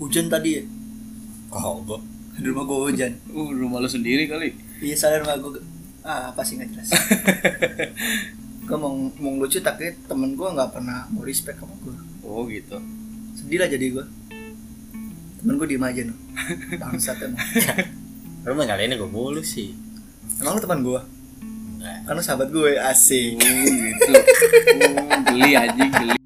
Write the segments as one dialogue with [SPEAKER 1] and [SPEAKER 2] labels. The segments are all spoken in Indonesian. [SPEAKER 1] Hujan tadi ya?
[SPEAKER 2] Kagak.
[SPEAKER 1] Di rumah gue hujan.
[SPEAKER 2] Uh, rumah lu sendiri kali.
[SPEAKER 1] Iya soalnya rumah gue ah, apa sih nggak jelas. gue mau, mau lucu tapi temen gue nggak pernah mau respect sama gue.
[SPEAKER 2] oh gitu.
[SPEAKER 1] Sedih lah jadi gue. Temen gue diem aja noh. Bangsat emang.
[SPEAKER 3] Lu mau nyalainnya gue mulu sih. Nah.
[SPEAKER 1] Emang lu teman gue?
[SPEAKER 3] Enggak.
[SPEAKER 1] Karena sahabat gue
[SPEAKER 2] Uh,
[SPEAKER 1] asik.
[SPEAKER 2] gitu. Uh, geli anjing geli.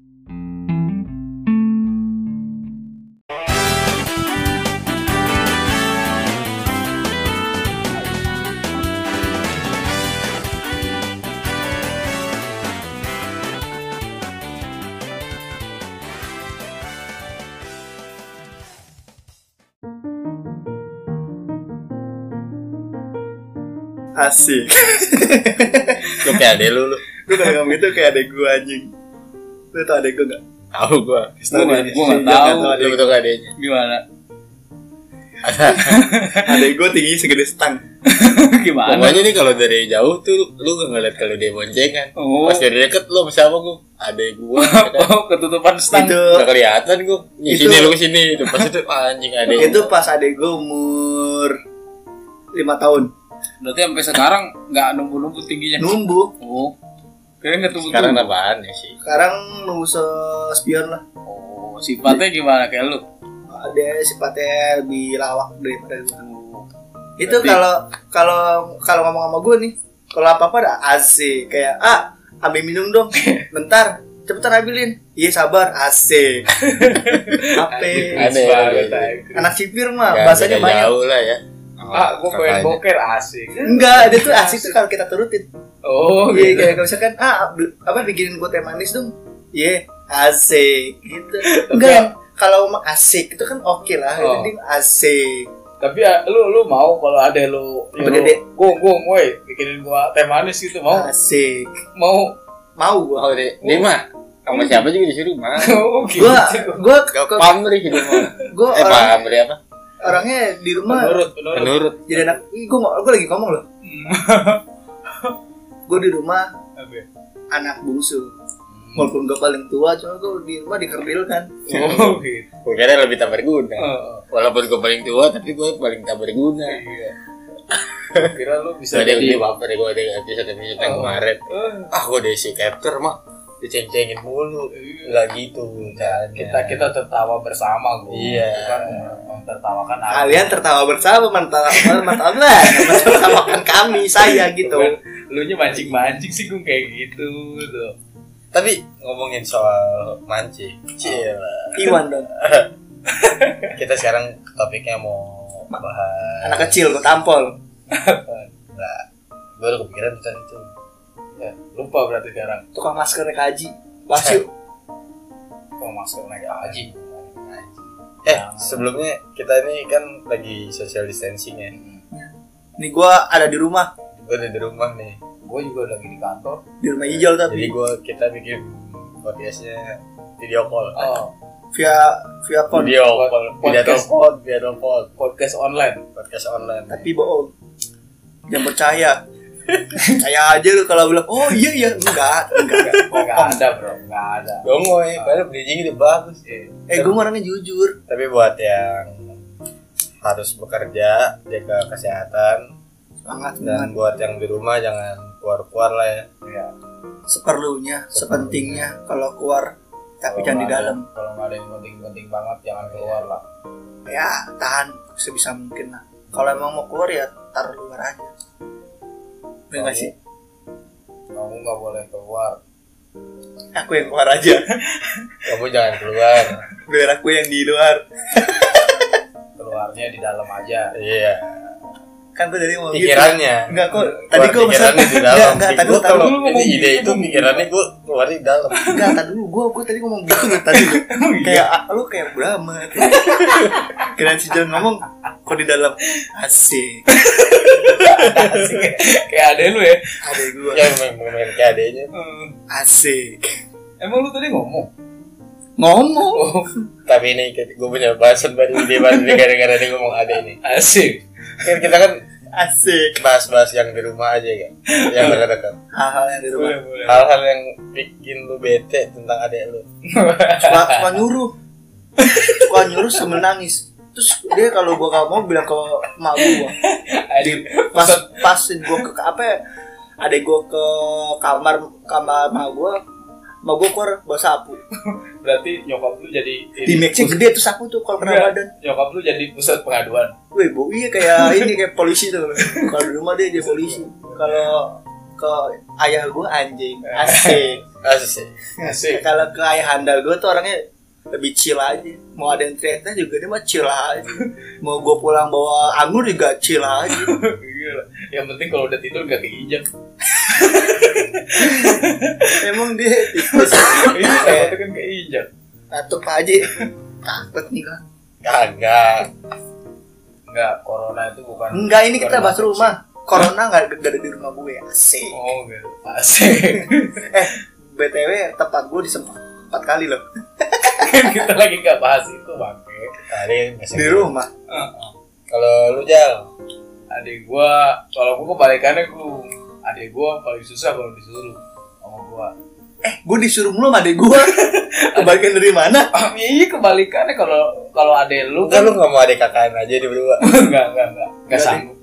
[SPEAKER 1] Asik.
[SPEAKER 3] Lu kayak adek lu lu.
[SPEAKER 1] Lu kalau ngomong gitu kayak adek gue anjing. Lu tau adek gue nggak?
[SPEAKER 3] Tahu gua.
[SPEAKER 2] Gua nggak- gua nggak
[SPEAKER 1] Jangan
[SPEAKER 2] tahu.
[SPEAKER 1] tau
[SPEAKER 3] Lu
[SPEAKER 1] adek
[SPEAKER 3] betul gak adeknya?
[SPEAKER 2] Gimana?
[SPEAKER 1] Adek gue tingginya segede stang.
[SPEAKER 2] Gimana?
[SPEAKER 3] Pokoknya nih kalau dari jauh tuh lu gak ngeliat kalau dia boncengan.
[SPEAKER 2] Oh.
[SPEAKER 3] Pas dari deket lu sama gua, adek gua. ya kan?
[SPEAKER 2] Oh, ketutupan stang.
[SPEAKER 1] Itu
[SPEAKER 3] Gak kelihatan gua. Di
[SPEAKER 1] Itu-
[SPEAKER 3] sini lu ke sini. Itu pas itu "Ah, anjing adek.
[SPEAKER 1] itu pas adek gue umur lima tahun.
[SPEAKER 2] Berarti sampai sekarang nggak numbuh-numbuh
[SPEAKER 4] Iya.
[SPEAKER 2] tingginya.
[SPEAKER 1] Numbu.
[SPEAKER 2] Oh. Kirain nggak tumbuh
[SPEAKER 3] Sekarang apaan ya sih?
[SPEAKER 1] Sekarang numbu sespion lah.
[SPEAKER 2] Oh, sifatnya gimana kayak lu?
[SPEAKER 1] Dia sifatnya lebih lawak daripada gue.
[SPEAKER 2] Oh.
[SPEAKER 1] Itu
[SPEAKER 2] Berarti-
[SPEAKER 1] kalau kalau kalau ngomong sama gue nih, kalau apa apa udah asik kayak ah ambil minum dong, bentar cepetan ambilin. Iya sabar, asik. Apa?
[SPEAKER 3] Ada ya. ada ya.
[SPEAKER 1] Anak sipir
[SPEAKER 2] Ah,
[SPEAKER 1] mah
[SPEAKER 3] Nggak
[SPEAKER 1] bahasanya
[SPEAKER 3] beda
[SPEAKER 1] banyak.
[SPEAKER 3] jauh lah ya.
[SPEAKER 4] Ah, gue pengen
[SPEAKER 3] Kakaknya.
[SPEAKER 4] boker asik.
[SPEAKER 1] Enggak, dia tuh asik tuh kalau kita turutin.
[SPEAKER 4] Oh,
[SPEAKER 1] iya, kayak kayak misalkan ah bel- apa bikinin gue teh manis dong. Iya, asik gitu. Enggak yang kalau emang asik itu kan oke lah,
[SPEAKER 4] Oh.
[SPEAKER 1] jadi asik.
[SPEAKER 4] Tapi ah, lu lu mau kalau ada lu
[SPEAKER 1] Apa gede?
[SPEAKER 4] gong gong woi bikinin gua teh manis gitu mau
[SPEAKER 1] Asik.
[SPEAKER 4] mau
[SPEAKER 1] Mau gua.
[SPEAKER 3] Oh, dia, dia mah sama siapa juga disuruh mah.
[SPEAKER 4] oh, gitu.
[SPEAKER 1] Gua gua
[SPEAKER 3] Gak pamrih dia mah.
[SPEAKER 1] gua
[SPEAKER 3] Eh,
[SPEAKER 1] orang,
[SPEAKER 3] pamrih apa?
[SPEAKER 1] orangnya di rumah
[SPEAKER 4] Menurut menurut
[SPEAKER 3] Menurut
[SPEAKER 1] jadi anak Ih, gua ngo- gua lagi ngomong loh. gua di rumah
[SPEAKER 4] Apa?
[SPEAKER 1] anak bungsu. Walaupun gua paling tua, cuma gua di rumah dikerdil kan.
[SPEAKER 4] Oh, gitu.
[SPEAKER 3] gue kira lebih tak
[SPEAKER 2] Iya.
[SPEAKER 3] berguna
[SPEAKER 4] Oh,
[SPEAKER 3] walaupun gue paling tua tapi gue paling tak berguna
[SPEAKER 4] iya. Kira lu bisa
[SPEAKER 3] soalnya
[SPEAKER 4] jadi
[SPEAKER 3] dia baper gue ada episode episode yang
[SPEAKER 4] Oh.
[SPEAKER 3] kemarin
[SPEAKER 4] Eh,
[SPEAKER 3] ah gue desi capture mah diceng-cengin mulu
[SPEAKER 4] iya.
[SPEAKER 3] nggak gitu caranya.
[SPEAKER 4] kita kita tertawa bersama gua.
[SPEAKER 3] Iya.
[SPEAKER 4] Bukan mentertawakan aku.
[SPEAKER 1] Kalian tertawa bersama, mantap, mantap lah, mentertawakan kami, saya gitu.
[SPEAKER 4] Bukan, Lu nya mancing-mancing sih gua kayak gitu tuh.
[SPEAKER 3] tapi ngomongin soal mancing Cil.
[SPEAKER 4] Ah.
[SPEAKER 1] Iwan dong.
[SPEAKER 3] kita sekarang topiknya mau bahas
[SPEAKER 1] anak kecil kok tampol
[SPEAKER 3] nggak gue udah kepikiran tentang itu
[SPEAKER 4] Ya, lupa berarti sekarang
[SPEAKER 1] tukang masker naik haji
[SPEAKER 4] Eh,
[SPEAKER 1] Wahsyu
[SPEAKER 4] mau masuk naik haji.
[SPEAKER 3] eh
[SPEAKER 1] Nah,
[SPEAKER 3] sebelumnya kita ini kan lagi social distancing ya
[SPEAKER 1] nih gua ada di rumah
[SPEAKER 3] gue udah di rumah nih
[SPEAKER 4] Gua juga lagi di kantor.
[SPEAKER 1] di rumah hijau
[SPEAKER 3] Jadi
[SPEAKER 4] Iya.
[SPEAKER 1] tapi
[SPEAKER 3] gua kita bikin podcastnya video call.
[SPEAKER 1] Ah,
[SPEAKER 4] Oh,
[SPEAKER 1] via via phone
[SPEAKER 3] Video call, video
[SPEAKER 4] Podcast.
[SPEAKER 3] telepon, video telepon,
[SPEAKER 4] podcast online.
[SPEAKER 3] podcast online.
[SPEAKER 1] tapi bohong jangan percaya percaya aja lu kalau bilang oh iya iya enggak enggak
[SPEAKER 4] Enggak ada, Bro. Enggak ada.
[SPEAKER 3] Dongoy, padahal bridging itu bagus.
[SPEAKER 1] eh gua orangnya jujur
[SPEAKER 3] Tapi buat yang harus bekerja, jaga kesehatan,
[SPEAKER 1] semangat
[SPEAKER 3] dan
[SPEAKER 1] dengan
[SPEAKER 3] buat yang di rumah jangan keluar-keluar lah ya.
[SPEAKER 4] Iya.
[SPEAKER 1] seperlunya sepentingnya kalau keluar tapi
[SPEAKER 4] Kalau
[SPEAKER 1] jangan di
[SPEAKER 4] nggak ada-
[SPEAKER 1] dalam Iya.
[SPEAKER 4] Kalau nggak ada yang penting-penting banget jangan keluar lah.
[SPEAKER 1] ya tahan sebisa mungkin lah kalau emang mau keluar ya taruh luar aja Bener nggak sih
[SPEAKER 4] Kamu nggak boleh keluar.
[SPEAKER 1] aku yang keluar aja
[SPEAKER 3] Kamu jangan keluar.
[SPEAKER 1] biar aku yang di luar
[SPEAKER 4] Keluarnya di dalam aja.
[SPEAKER 3] Iya.
[SPEAKER 1] kan tuh dari mau
[SPEAKER 3] Pikirannya.
[SPEAKER 1] gitu. enggak kok
[SPEAKER 3] Keluar
[SPEAKER 1] tadi gua
[SPEAKER 3] pikirannya di dalam.
[SPEAKER 1] enggak enggak
[SPEAKER 3] Di
[SPEAKER 1] tadi
[SPEAKER 3] gua
[SPEAKER 1] gua tadi
[SPEAKER 3] gitu kalau
[SPEAKER 1] dulu
[SPEAKER 3] ini ide itu pikirannya gua keluar di dalam.
[SPEAKER 1] enggak tadi dulu gua gua tadi ngomong gitu loh, tadi lu.
[SPEAKER 4] Iya. Oh,
[SPEAKER 1] kayak ah, lu kayak Brahma kayak keren si John ngomong kok di dalam asik
[SPEAKER 4] Kayak ada lu ya.
[SPEAKER 1] ada gua
[SPEAKER 3] Ya main-main kayak adanya.
[SPEAKER 4] Hmm.
[SPEAKER 1] asik
[SPEAKER 4] Emang lu tadi ngomong?
[SPEAKER 1] ngomong
[SPEAKER 4] Oh,
[SPEAKER 3] tapi ini gue punya bahasan baru ide baru nih gara-gara dia ngomong ada ini
[SPEAKER 4] asik.
[SPEAKER 3] kan kita kan
[SPEAKER 1] asik
[SPEAKER 3] bahas-bahas yang di rumah aja kan
[SPEAKER 1] Iya.
[SPEAKER 3] yang dekat-dekat
[SPEAKER 1] hal-hal yang di rumah
[SPEAKER 4] Boleh, boleh.
[SPEAKER 3] hal-hal yang bikin lu bete tentang adek lu
[SPEAKER 1] suka, suka nyuruh suka nyuruh sambil nangis terus dia kalau gua kalau mau bilang ke emak gua di pas pasin gua ke ke apa ya ada gua ke kamar kamar emak gua emak gua keluar bawa sapu
[SPEAKER 4] Berarti nyokap lu jadi ini.
[SPEAKER 1] di meja gede tuh sapu tuh kalau kena
[SPEAKER 4] Enggak.
[SPEAKER 1] badan
[SPEAKER 4] Nyokap lu jadi pusat pengaduan.
[SPEAKER 1] weh bu iya kayak ini kayak polisi tuh kalau di rumah dia jadi polisi kalau ke ayah gua anjing asik
[SPEAKER 3] Asik.
[SPEAKER 4] Asik.
[SPEAKER 1] kalau ke ayah handal gue tuh orangnya lebih chill aja mau ada yang teriaknya juga dia mah chill aja mau gue pulang bawa anggur juga chill aja
[SPEAKER 4] Gila. Iya. Yang penting kalau udah tidur gak keinjak.
[SPEAKER 1] emang dia tipis
[SPEAKER 4] Iya, takutnya kan keinjak.
[SPEAKER 1] atau apa aja takut nih gua.
[SPEAKER 3] Kagak.
[SPEAKER 4] Enggak, corona itu bukan
[SPEAKER 1] enggak ini kita bahas rumah corona nggak nggak ada di rumah gue ya. asik
[SPEAKER 4] Oh, gitu. Asik.
[SPEAKER 1] eh btw tempat gue disempat empat kali loh
[SPEAKER 4] Kan Kita lagi gak bahas itu, bangke.
[SPEAKER 3] Tadi masih
[SPEAKER 1] di rumah
[SPEAKER 3] Kalau lu jal,
[SPEAKER 4] adik gua kalau gua kebalikannya gua adik gua paling susah kalau disuruh sama gua
[SPEAKER 1] Eh, gue disuruh mulu sama adek gue kebagian dari mana
[SPEAKER 4] iya kebalikannya kalau kalau Iya, adik lu
[SPEAKER 3] enggak
[SPEAKER 4] kan
[SPEAKER 3] lu nggak mau ada kakakan aja di berdua.
[SPEAKER 4] enggak enggak enggak enggak
[SPEAKER 1] Enggak,
[SPEAKER 4] sanggup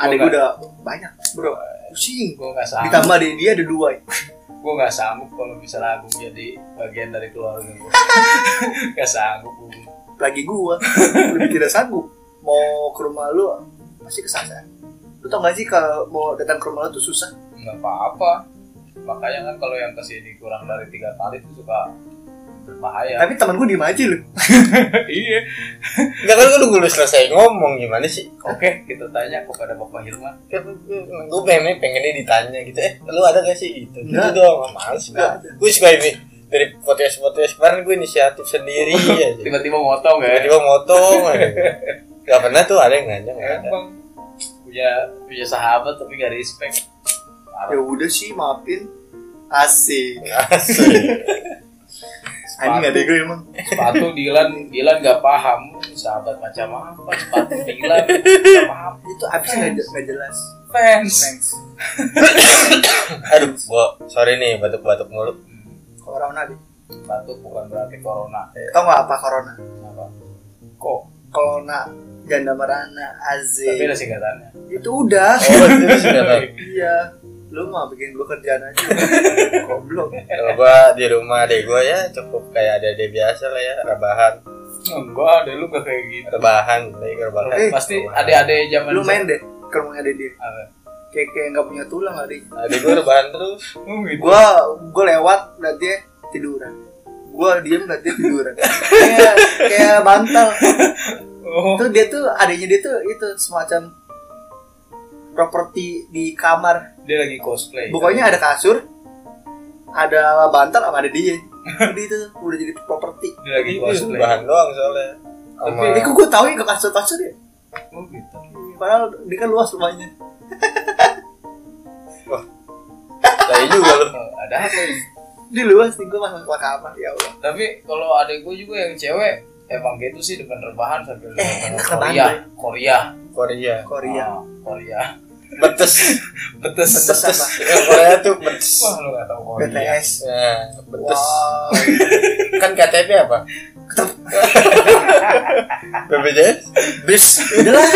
[SPEAKER 1] adek gue udah banyak bro pusing
[SPEAKER 4] gua enggak sanggup
[SPEAKER 1] ditambah adek dia ada dua ya.
[SPEAKER 4] gua enggak sanggup kalau misalnya aku jadi bagian dari keluarga gua enggak sanggup gua
[SPEAKER 1] lagi gua lebih tidak sanggup mau ke rumah lu pasti kesasar lu tau gak sih kalau mau datang ke rumah lu tuh susah
[SPEAKER 4] enggak apa-apa makanya kan kalau yang kesini kurang dari tiga kali itu suka berbahaya
[SPEAKER 1] tapi temen gua diem aja lu
[SPEAKER 4] iya
[SPEAKER 3] Enggak kan lu belum selesai ngomong gimana sih?
[SPEAKER 4] oke kita tanya kepada bapak Hilman
[SPEAKER 3] gue pengen pengennya ditanya gitu eh lu ada gak sih gitu gitu
[SPEAKER 1] Nggak.
[SPEAKER 3] doang ah, males gue
[SPEAKER 1] Nggak ada.
[SPEAKER 3] gue suka ini dari podcast podcast kemarin gue inisiatif sendiri aja
[SPEAKER 4] tiba-tiba
[SPEAKER 1] eh?
[SPEAKER 4] motong ya
[SPEAKER 3] tiba-tiba motong aja gak pernah tuh ada yang nanya nggak ada
[SPEAKER 4] Emang punya punya sahabat tapi gak respect.
[SPEAKER 1] ya udah sih maafin asik
[SPEAKER 3] asli
[SPEAKER 1] anjing ada gue emang
[SPEAKER 4] Sepatu Dilan Dilan gak paham sahabat macam apa. Sepatu Dilan gak paham
[SPEAKER 1] itu abisnya nggak nggak jelas
[SPEAKER 4] fans.
[SPEAKER 3] aduh gua sorry nih batuk-batuk mulu
[SPEAKER 1] corona deh
[SPEAKER 4] Hmm, Sepatu bukan berarti corona.
[SPEAKER 1] tau gak apa corona
[SPEAKER 4] Kenapa? Kok?
[SPEAKER 1] corona janda merana
[SPEAKER 4] Tapi ada
[SPEAKER 1] asik
[SPEAKER 4] singkatannya.
[SPEAKER 1] itu udah
[SPEAKER 3] oh itu sudah tahu.
[SPEAKER 1] iya lu mah bikin gua kerjaan aja goblok
[SPEAKER 3] kalau gua di rumah deh gua ya cukup kayak ada deh biasa lah ya rebahan
[SPEAKER 4] Enggak, ada lu gak kayak gitu.
[SPEAKER 3] rebahan lagi rebahan
[SPEAKER 1] Eh,
[SPEAKER 4] Pasti ada-ada zaman
[SPEAKER 1] lu main deh ke rumahnya ada dia
[SPEAKER 4] Apa?
[SPEAKER 1] kayak kayak nggak punya tulang ada
[SPEAKER 3] ada gua rebahan terus
[SPEAKER 4] Oh, gitu.
[SPEAKER 1] gue gue lewat liat dia tiduran gue diem liat dia tiduran kayak kayak bantal
[SPEAKER 4] Oh,
[SPEAKER 1] tuh dia tuh adanya dia tuh itu semacam properti di kamar
[SPEAKER 4] dia lagi cosplay.
[SPEAKER 1] pokoknya ada kasur ada bantal sama ada dia jadi itu udah jadi properti
[SPEAKER 4] dia lagi
[SPEAKER 3] Itu
[SPEAKER 1] iya.
[SPEAKER 4] cosplay.
[SPEAKER 3] rebahan doang soalnya sama
[SPEAKER 1] ini kok gue tau ya ke kasur kasur ya
[SPEAKER 4] Oh, gitu.
[SPEAKER 1] padahal dia kan luas rumahnya
[SPEAKER 3] saya juga lu
[SPEAKER 4] Oh, ada apa ini?
[SPEAKER 1] dia luas nih gue masuk ke kamar ya allah
[SPEAKER 4] Tapi kalau adek gue juga yang cewek emang gitu sih depan rebahan sambil
[SPEAKER 1] Eh,
[SPEAKER 4] nonton
[SPEAKER 1] enak rebahan,
[SPEAKER 4] Korea, Korea,
[SPEAKER 3] Korea
[SPEAKER 1] Korea
[SPEAKER 4] Ah, Korea.
[SPEAKER 3] betes
[SPEAKER 4] Betes.
[SPEAKER 1] Betes apa?
[SPEAKER 3] Yang Korea tuh betes
[SPEAKER 4] Wah, lu gak tau Korea.
[SPEAKER 1] BTS
[SPEAKER 3] nah betes
[SPEAKER 1] wow
[SPEAKER 3] kan KTP apa BPJS bis
[SPEAKER 1] udah lah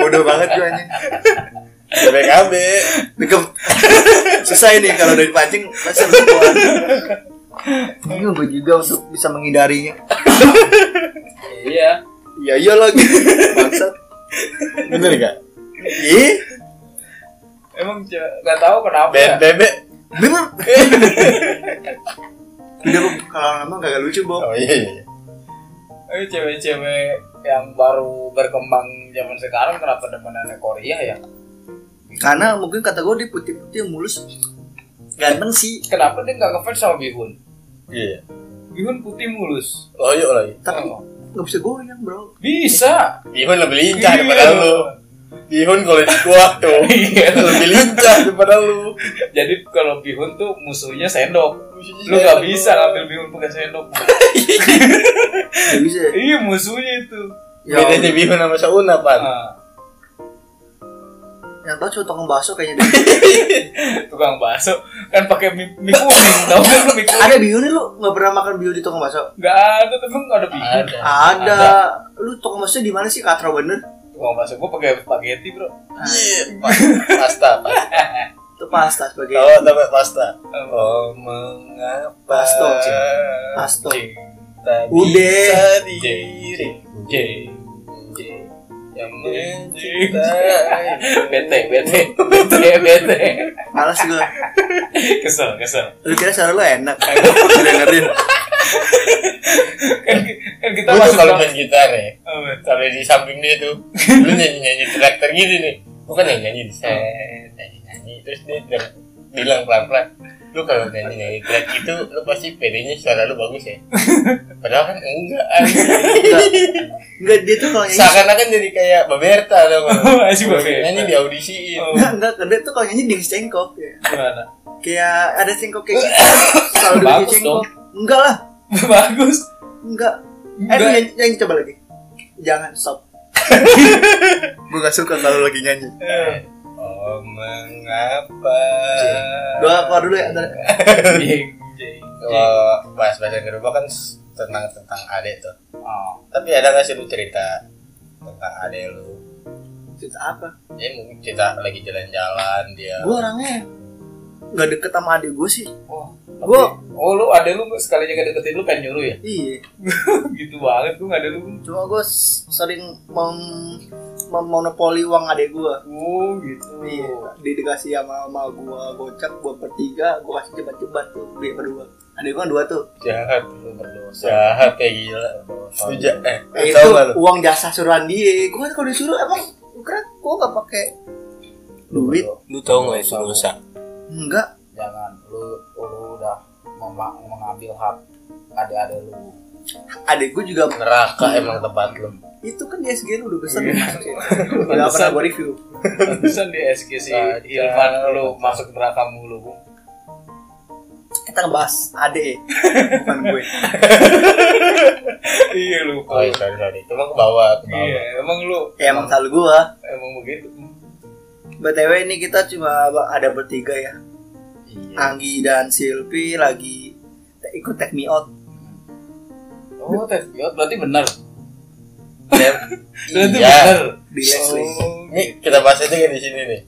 [SPEAKER 1] bodoh banget gue anjing
[SPEAKER 3] BPKB
[SPEAKER 1] Degem. Susah ini kalau udah dipancing pasti harus keluar. Bingung gue iya. juga untuk bisa menghindarinya.
[SPEAKER 4] Iya.
[SPEAKER 1] Ya iya lagi. Bangsat.
[SPEAKER 3] bener gak
[SPEAKER 1] Ih,
[SPEAKER 4] Emang ce- gak tau kenapa ya?
[SPEAKER 3] BNPB
[SPEAKER 1] bener. Udah Bang. kalau nama kagak lucu, Bang.
[SPEAKER 3] oh iya iya
[SPEAKER 4] Eh, cewek-cewek yang baru berkembang zaman sekarang kenapa demenannya Korea ya?
[SPEAKER 1] Karena mungkin kata gue dia putih-putih mulus. Ganteng sih.
[SPEAKER 4] Kenapa dia gak ngefans sama Bihun?
[SPEAKER 3] iya
[SPEAKER 4] Bihun putih mulus.
[SPEAKER 3] loyok lagi
[SPEAKER 1] Tapi
[SPEAKER 4] Oh.
[SPEAKER 1] nggak bisa goyang, Bro.
[SPEAKER 4] Bisa.
[SPEAKER 3] Bihun lebih lincah
[SPEAKER 4] Iya.
[SPEAKER 3] daripada lu Bihun kalau di gua tuh
[SPEAKER 4] Iya.
[SPEAKER 3] lebih lincah daripada lu
[SPEAKER 4] Jadi kalau Bihun tuh musuhnya sendok. Lu
[SPEAKER 2] Iya.
[SPEAKER 4] gak bisa ngambil Bihun pakai sendok.
[SPEAKER 1] Nggak bisa.
[SPEAKER 4] Iya musuhnya itu.
[SPEAKER 1] Ya,
[SPEAKER 2] Kan.
[SPEAKER 3] bedanya Bihun sama Sauna pan
[SPEAKER 4] Ah.
[SPEAKER 1] yang tahu cuma tukang bakso kayaknya deh.
[SPEAKER 4] tukang bakso kan pakai mie, mie kuning tau gak lu mie kuning
[SPEAKER 1] ada bio nih lu nggak pernah makan bio di tukang bakso
[SPEAKER 4] nggak ada tapi nggak ada mie
[SPEAKER 2] Ada.
[SPEAKER 1] ada. lu tukang bakso di mana sih katro bener
[SPEAKER 4] tukang bakso gua pakai spaghetti bro
[SPEAKER 3] Pasta, pasta.
[SPEAKER 1] itu pasta sebagai
[SPEAKER 3] Tahu tapi pasta. Oh mengapa
[SPEAKER 1] Pasto, Cing. Pasto.
[SPEAKER 4] iya.
[SPEAKER 3] cinta
[SPEAKER 1] Udah.
[SPEAKER 3] bisa
[SPEAKER 4] Cing,
[SPEAKER 3] diri
[SPEAKER 4] J J yang
[SPEAKER 3] mencintai
[SPEAKER 4] bete bete bete bete
[SPEAKER 1] malas gue
[SPEAKER 4] kesel kesel
[SPEAKER 1] lu kira suara lu enak Gua dengerin
[SPEAKER 4] kan kan kita
[SPEAKER 3] Gue tuh
[SPEAKER 4] masuk ke-
[SPEAKER 3] kalau
[SPEAKER 4] Oh,
[SPEAKER 3] main gitar ya
[SPEAKER 4] Apa?
[SPEAKER 3] Kalau di samping dia tuh Lu nyanyi-nyanyi karakter gitu nih Bukan nyanyi-nyanyi set Nyanyi-nyanyi Terus dia bilang- bilang pelan-pelan Lu kalau nyanyi-nyanyi track itu Lu pasti pedenya suara lu bagus ya Padahal kan enggak anjing.
[SPEAKER 1] enggak dia tuh kalau nyanyi
[SPEAKER 3] Seakan-akan jadi kayak Baberta dong Iya,
[SPEAKER 4] Masih Baberta.
[SPEAKER 3] Nyanyi di audisiin
[SPEAKER 4] Oh,
[SPEAKER 1] enggak enggak dia tuh kalau nyanyi ding cengkok ya.
[SPEAKER 4] gimana
[SPEAKER 1] kayak ada cengkok kayak gitu selalu dia
[SPEAKER 4] Bagus
[SPEAKER 1] cengkok enggak lah
[SPEAKER 4] bagus
[SPEAKER 1] enggak eh lu
[SPEAKER 4] Enggak.
[SPEAKER 1] nyanyi, nyanyi coba lagi jangan stop gue gak suka kalau lagi nyanyi
[SPEAKER 4] Eh.
[SPEAKER 3] Oh mengapa
[SPEAKER 1] Gua keluar dulu ya ntar.
[SPEAKER 4] Jeng, jeng, jeng.
[SPEAKER 3] Kalau bahas-bahas yang kedua kan s- tentang tentang adik tuh
[SPEAKER 4] Oh,
[SPEAKER 3] Tapi ada gak sih lu cerita Tentang adik lu
[SPEAKER 1] Cerita apa?
[SPEAKER 3] Dia mungkin cerita lagi jalan-jalan dia.
[SPEAKER 1] Gue orangnya nggak deket sama adik gue sih.
[SPEAKER 4] oh,
[SPEAKER 1] Gua-
[SPEAKER 4] tapi- oh lu ada lu sekali aja gak deketin lu pengen nyuruh ya
[SPEAKER 1] Iya.
[SPEAKER 4] gitu banget gue gak ada lu
[SPEAKER 1] Cuma gue sering mem memonopoli uang adik gue.
[SPEAKER 4] oh gitu
[SPEAKER 1] Iya. Dia dikasih sama mama gue gocap, gue bertiga, gue kasih cepat-cepat tuh dia berdua. Adik gue dua tuh.
[SPEAKER 3] jahat lu berdosa. Jahat kayak gila. Lu ja eh,
[SPEAKER 1] Eh, itu
[SPEAKER 3] tahu nggak lu?
[SPEAKER 1] uang jasa suruhan dia. Gue kan kalau disuruh emang lu kira gue nggak pakai duit?
[SPEAKER 3] Lu tahu nggak itu dosa?
[SPEAKER 1] Enggak.
[SPEAKER 4] jangan lu lu udah mema- mengambil hak ada-ada lu
[SPEAKER 1] Adik gue juga
[SPEAKER 3] Neraka emang tempat lu.
[SPEAKER 1] itu kan di SG lu udah besar
[SPEAKER 4] Iya.
[SPEAKER 1] nih masuknya. Udah pernah gue review.
[SPEAKER 4] Pantesan di SG si
[SPEAKER 3] Nah,
[SPEAKER 4] Hilman lu masuk neraka mulu Bung.
[SPEAKER 1] Kita ngebahas adik, bukan gue.
[SPEAKER 4] iya lu
[SPEAKER 3] Oh, iya, sorry, sorry. Cuma ke bawah, ke bawah.
[SPEAKER 4] iya emang lu
[SPEAKER 1] Ya emang salah gue.
[SPEAKER 4] emang begitu
[SPEAKER 1] BTW ini kita cuma ada bertiga ya. Anggi dan Silvi lagi te- ikut take me out.
[SPEAKER 4] oh tes biot berarti benar
[SPEAKER 3] Iya.
[SPEAKER 4] berarti Oh. benar
[SPEAKER 1] Di Leslie.
[SPEAKER 3] Nih, kita bahas aja kan di sini nih.